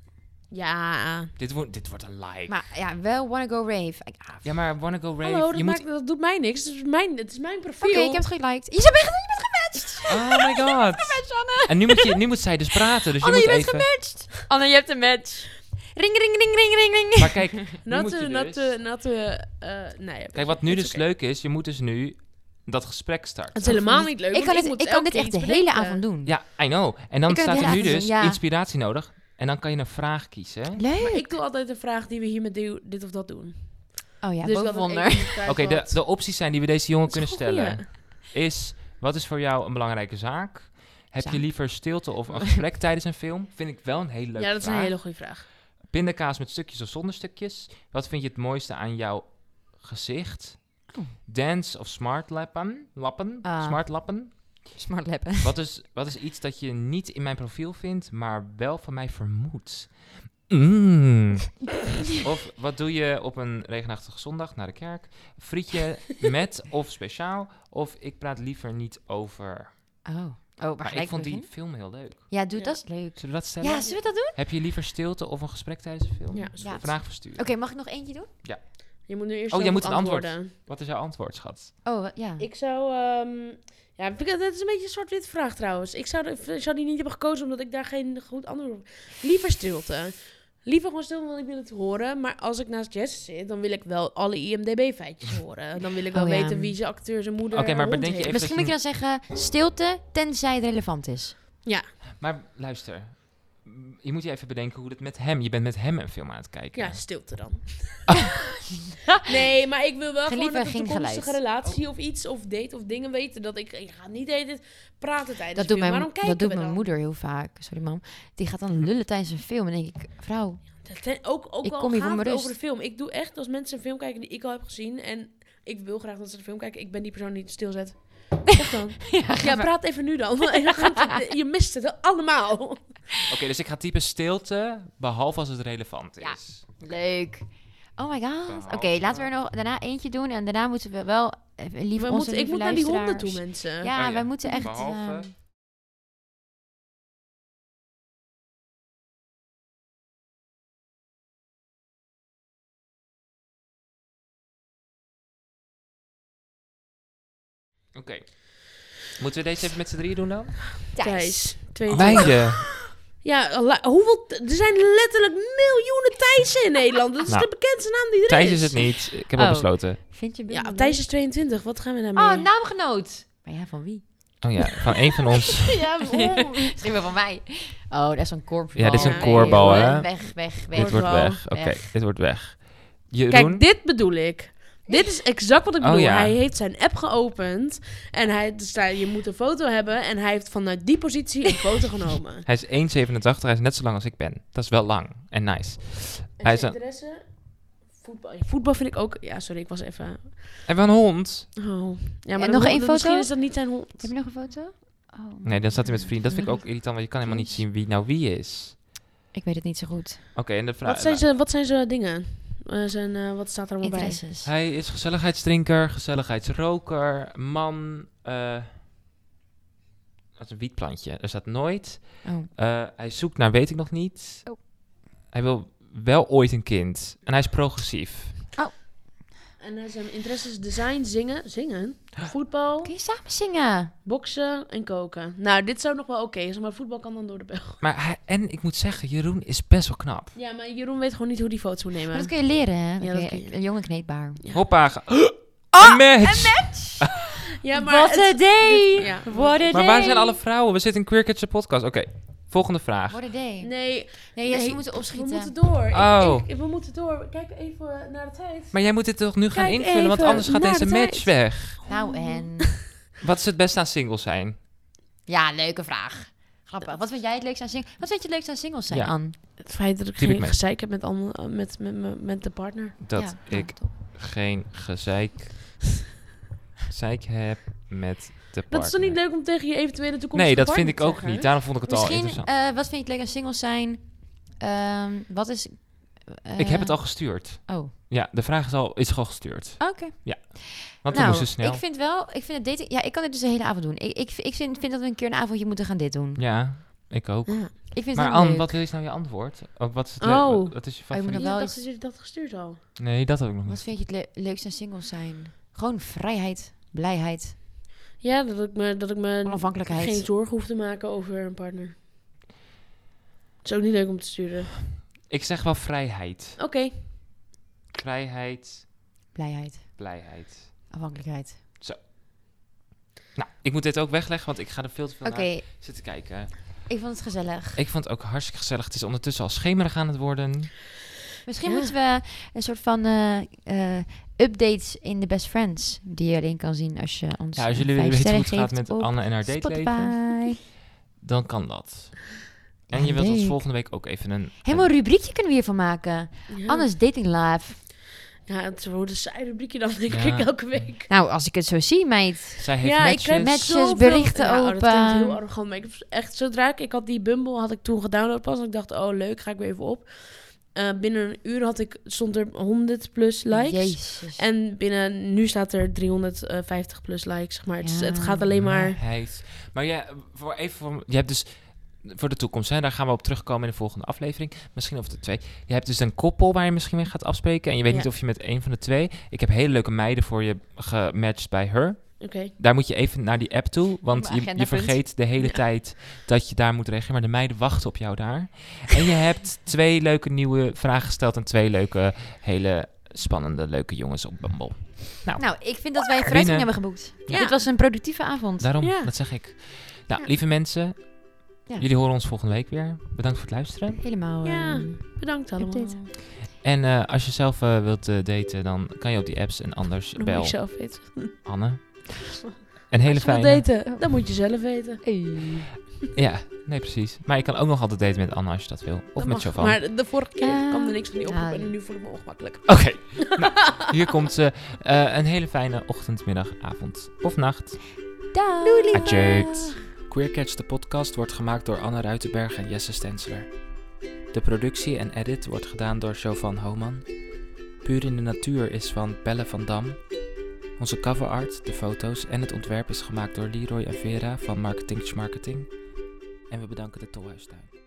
Ja.
Dit, wordt dit wordt een like.
maar ja, wel Wanna Go Rave. Ik- ah,
ja, maar wanna go rave?
Hallo, dat,
je moet...
maakt, dat doet mij niks. Het is mijn, het is mijn
Oké,
profiel.
ik heb het geliked. Je bent, je bent gematcht!
Oh my god.
Match, Anne!
En nu moet, je, nu moet zij dus praten, dus je
Anne,
moet
je bent
even...
gematcht! Anne, Oh, je hebt een match. Ring, ring, ring, ring, ring, ring.
Maar kijk, nu moet
Natte,
je dus...
natte, natte... eh, Nee,
Kijk, wat nu
het is
dus
oké.
leuk is, je moet dus nu dat gesprek
Het is
starten.
helemaal niet leuk.
Ik kan
want
dit,
moet
ik kan
elke
dit echt
keer
de
iets
hele
bedenken.
avond doen.
Ja, I know. En dan
Ik kan
staat
het
er nu
laten zien,
dus
ja.
inspiratie nodig. En dan kan je een vraag kiezen. Oké,
Leuk.
Ik doe altijd de vraag die we hier met die- dit of dat doen. Dus
Oh
ik
ja,
had het
bovenwonder.
even niet
de,
kwijt
de opties zijn die we deze jongen
Dat
kunnen
is een
stellen. Is, wat is voor jou een belangrijke zaak? Heb
Zaak.
je liever stilte of een gesprek tijdens een film? Vind ik wel een hele
gehad.
leuke
Ja, dat is een
vraag.
hele goede vraag.
Pindakaas met stukjes of zonder stukjes? Wat vind je het mooiste aan jouw gezicht?
Oh.
Dance of smart lappen? lappen?
Ah.
Smart lappen?
Smart lappen.
Wat is, wat is iets dat je niet in mijn profiel vindt, maar wel van mij vermoedt? Mm. of wat doe je op een regenachtige zondag naar de kerk? Frietje met of speciaal? Of ik praat liever niet over.
Oh. Oh, maar,
Maar
gelijk
ik vond die
begin?
film heel leuk.
Ja, doe
Ja.
dat is leuk.
Zullen we dat stellen?
Ja, zullen we dat doen?
Heb je liever stilte of een gesprek tijdens de film?
Ja,
Ja.
Vraag versturen.
Oké, mag ik nog eentje doen?
Je moet nu eerst
Oh, jij
zelf
moet een antwoord.
antwoorden.
Wat is jouw antwoord, schat?
Oh, wat- ja.
Ik zou... ehm, ja, vind ik- dit is een beetje een zwart-wit vraag trouwens. Ik zou, de- zou die niet hebben gekozen omdat ik daar geen goed antwoord op... Liever stilte. Liever gewoon stilte, want ik wil het horen. Maar als ik naast Jess zit, dan wil ik wel alle IMDB-feitjes horen. Dan wil ik wel
Oh, ja.
weten wie zijn acteur, zijn moeder,
Oké, maar
hond
bedenk je
heeft.
even-
Misschien moet je dan zeggen stilte, tenzij het relevant is.
dus
Maar luister, m, je moet je even bedenken hoe het met hem. Je bent met hem een film aan het kijken.
Ja, stilte dan. nee, maar ik wil wel
Geen
gewoon
liever,
dat een
geen
toekomstige
geluid.
relatie of iets of date of dingen weten. Dat ik, ik ga niet eten, praten tijdens
Dat
de
doet
film.
mijn,
Waarom kijken
dat doet
we
mijn
dan?
moeder heel vaak. Sorry, mam. Die gaat dan lullen tijdens een film. En dan denk ik, vrouw,
Dat zijn ook, ook
Ik
al
kom hier voor
gaat
mijn
het
rust.
over de film. Ik doe echt als mensen een film kijken die ik al heb gezien en ik wil graag dat ze de film kijken. Ik ben die persoon die het stilzet. Of dan? ja, praat even nu dan. Je mist het allemaal.
Oké, dus ik ga typen stilte, behalve als het relevant
Ja.
is.
leuk. Oh my god. Oké,
Behalve-
laten we er nog daarna eentje doen. En daarna moeten we wel, eh, lief
We
onze
moeten, ik
lieve
moet naar die honden toe,
luisteraars.
mensen.
Ja, ehm,
Oh ja,
wij moeten echt...
behalve-
ehm,
Oké. Moeten we deze even met z'n drieën doen dan?
Thijs. Twee.
Beide.
Ja, la- hoeveel... Er zijn letterlijk miljoenen Thijsen in Nederland. Dat is
Nou,
de bekendste naam die er
Thijs
is.
is het niet. Ik heb
Oh.
al besloten.
Vind je
Ja,
Bumble
Thijs
leuk?
is 22. Wat gaan we nou
Oh,
mee?
naamgenoot. Maar ja, van wie?
Oh ja, van één van ons.
ja, Misschien wel van mij. Oh, dat is een korfbal.
Ja, dit
is een
Nee,
korbal,
gewoon
hè?
Weg, weg, weg.
dit wordt
wel.
weg. Oké,
Weg.
dit wordt weg. Jeroen?
Kijk, dit bedoel ik. Dit is exact wat ik
Oh,
bedoel.
ja.
Hij heeft zijn app geopend. En hij, er staat, je moet een foto hebben. En hij heeft vanuit die positie een foto genomen.
Hij is 1,87. Hij is net zo lang als ik ben. Dat is wel lang. En nice. Hij is
zijn
een...
interesse? Voetbal. Ja, Voetbal vind ik ook... Ja, sorry, ik was even...
Hebben we een hond?
Oh. Ja,
En
maar
nog
dat-
één
dat-
foto?
Misschien is dat niet zijn hond.
Heb je nog een foto? Oh,
Nee, dan staat hij met vrienden. Dat vind ik ook irritant, want je kan helemaal niet zien wie nou wie is.
ik weet het niet zo goed.
Oké, en de vraag...
Wat zijn ze, wat zijn ze dingen? Eh, zijn, eh, wat staat er allemaal bij?
Interesses.
Hij is gezelligheidsdrinker, gezelligheidsroker, man. eh dat is een wietplantje. Er staat nooit.
Oh.
Eh, hij zoekt naar weet ik nog niet.
Oh.
Hij wil wel ooit een kind. En hij is progressief.
En hij zijn interesses design, zingen, zingen, voetbal,
Kun je samen zingen?
boksen en koken. Nou, dit zou nog wel oké zijn, maar voetbal kan dan door de bel.
Maar hij, en ik moet zeggen, Jeroen is best wel knap.
Ja, maar Jeroen weet gewoon niet hoe die foto's moet nemen.
Maar dat kun je leren, hè?
Ja, dat kun je.
Een jonge kneedbaar.
Ja.
Hoppa. ge- een match!
Ja,
What a day!
dit- ja.
What a
Maar
day!
waar zijn alle vrouwen? We zitten in Queer Kids de podcast. Oké, volgende vraag.
What a day. Nee,
Nee,
ja,
nee,
ze moeten
we
opschieten.
moeten door. Ik-
Oh.
ik- we moeten door. Kijk even naar de tijd.
Maar jij moet dit toch nu gaan
Kijk
invullen, want
even
anders gaat
naar
deze
de
match
tijd.
weg.
Nou en...
Wat is het beste aan singles zijn?
Ja, leuke vraag. Grappig. Wat vind jij het leukst aan singles? Wat vind je het leukst aan singles zijn,
Ja.
Anne?
Het feit dat ik
Tuurlijk,
geen
maar-
gezeik heb met, ander- met, met, met, met de partner.
Dat
Ja, nou,
ik
top.
geen gezeik zeik heb met de partner.
Dat is toch niet leuk om tegen je eventuele toekomstige
Nee, dat
partner
vind ik
te
ook
zeggen?
niet. Daarom vond ik het al
Misschien,
interessant.
eh, wat vind je het leuk aan singles zijn? Ehm, wat is... eh,
ik heb het al gestuurd.
Oh, oké.
Ja, de vraag is al, is al gestuurd. Want we
nou,
moesten snel.
ik vind wel... Ik vind het dating... Ja, ik kan dit dus de hele avond doen. Ik, ik, ik vind, vind dat we een keer een avondje moeten gaan dit doen.
Ja, ik ook.
Ja.
Ik vind
Maar
het heel
Anne,
leuk.
wat is nou je antwoord? Of wat is het
Oh.
leuk? Wat is je
Oh, je moet
favoriet?
wel
Ja, dacht
iets-
dat jullie dat gestuurd al.
Nee, dat heb ik nog
Wat
niet.
vind je het le- leukst aan singles zijn? Gewoon vrijheid, blijheid,
Ja, dat ik me, dat ik me
onafhankelijkheid.
geen zorgen hoef te maken over een partner. Het is ook niet leuk om te sturen.
Ik zeg wel vrijheid.
Oké.
Vrijheid,
Blijheid,
blijheid.
afhankelijkheid.
Nou, ik moet dit ook wegleggen, want ik ga er veel te veel
Oké,
naar zitten kijken.
ik vond het gezellig.
Ik vond het ook hartstikke gezellig. Het is ondertussen al schemerig aan het worden.
Dus Misschien
Ja.
moeten we een soort van eh, eh, updates in de Best Friends. Die je alleen kan zien als je ons.
Ja, als jullie
eh,
willen
vijf
weten hoe het
sterren
gaat
geeft
met
op
Anne en haar dateleven,
Spotify.
dan kan dat. En
Ja,
je wilt ons
leuk.
volgende week ook even een...
Helemaal een rubriekje kunnen we hiervan maken.
Ja.
Anne's Dating Live.
Ja, het wordt een saai rubriekje dan, denk
Ja.
ik, elke week.
Nou, als ik het zo zie, meid.
Zij heeft
ja,
matches.
ik heb
Matches, berichten
Ja, oh, dat klinkt
open.
heel arrogant, maar ik heb echt, zodra ik, ik had die Bumble, had ik toen gedownload pas. En ik dacht, oh leuk, ga ik weer even op. Eh, binnen een uur had ik, stond er 100 plus likes.
Jezus.
En binnen, nu staat er 350 plus likes, zeg maar. Het, is-
Ja.
het gaat alleen maar...
Meid. Maar ja, voor even voor, je hebt dus voor de toekomst, hè, daar gaan we op terugkomen in de volgende aflevering. Misschien over de twee. Je hebt dus een koppel waar je misschien mee gaat afspreken. En je weet
Ja.
niet of je met één van de twee. Ik heb hele leuke meiden voor je gematcht bij her.
Oké.
Daar moet je even naar die app toe, want
Mijn
je, je
agendapunt.
vergeet de hele tijd dat je daar moet reageren. Maar de meiden wachten op jou daar. En je hebt twee leuke nieuwe vragen gesteld en twee leuke, hele spannende, leuke jongens op Bumble.
Nou, ik vind dat wij een
Winnen.
vooruitgang hebben geboekt.
Ja.
Dit was een productieve avond.
Daarom,
Ja.
dat zeg ik. Nou,
Ja.
lieve mensen,
Ja.
jullie horen ons volgende week weer. Bedankt voor het luisteren.
Helemaal.
Ja.
ehm,
Bedankt allemaal.
Update.
En eh, als je zelf eh, wilt eh, daten, dan kan je op die apps en anders
Dan moet
bel
je zelf weten.
Anne. Een hele
Als je wil
fijne.
daten, dan moet je zelf weten.
Hey.
Ja, nee, precies. Maar je kan ook nog altijd daten met Anne als je dat wil. Of
Dat
met
mag.
Jovan.
Maar de vorige keer
Ja.
kwam er niks van die oproep
Ja.
en nu voel ik me ongemakkelijk.
Oké, nou, hier komt ze. Eh, een hele fijne ochtend, middag, avond of nacht.
Dag.
Adieu. Queer Catch de podcast wordt gemaakt door Anne Ruitenberg en Jesse Stensler. De productie en edit wordt gedaan door Jovan Homan. Puur in de natuur is van Belle van Dam. Onze coverart, de foto's en het ontwerp is gemaakt door Leroy en Vera van Marketing Marketing. En we bedanken de Tolhuistuin.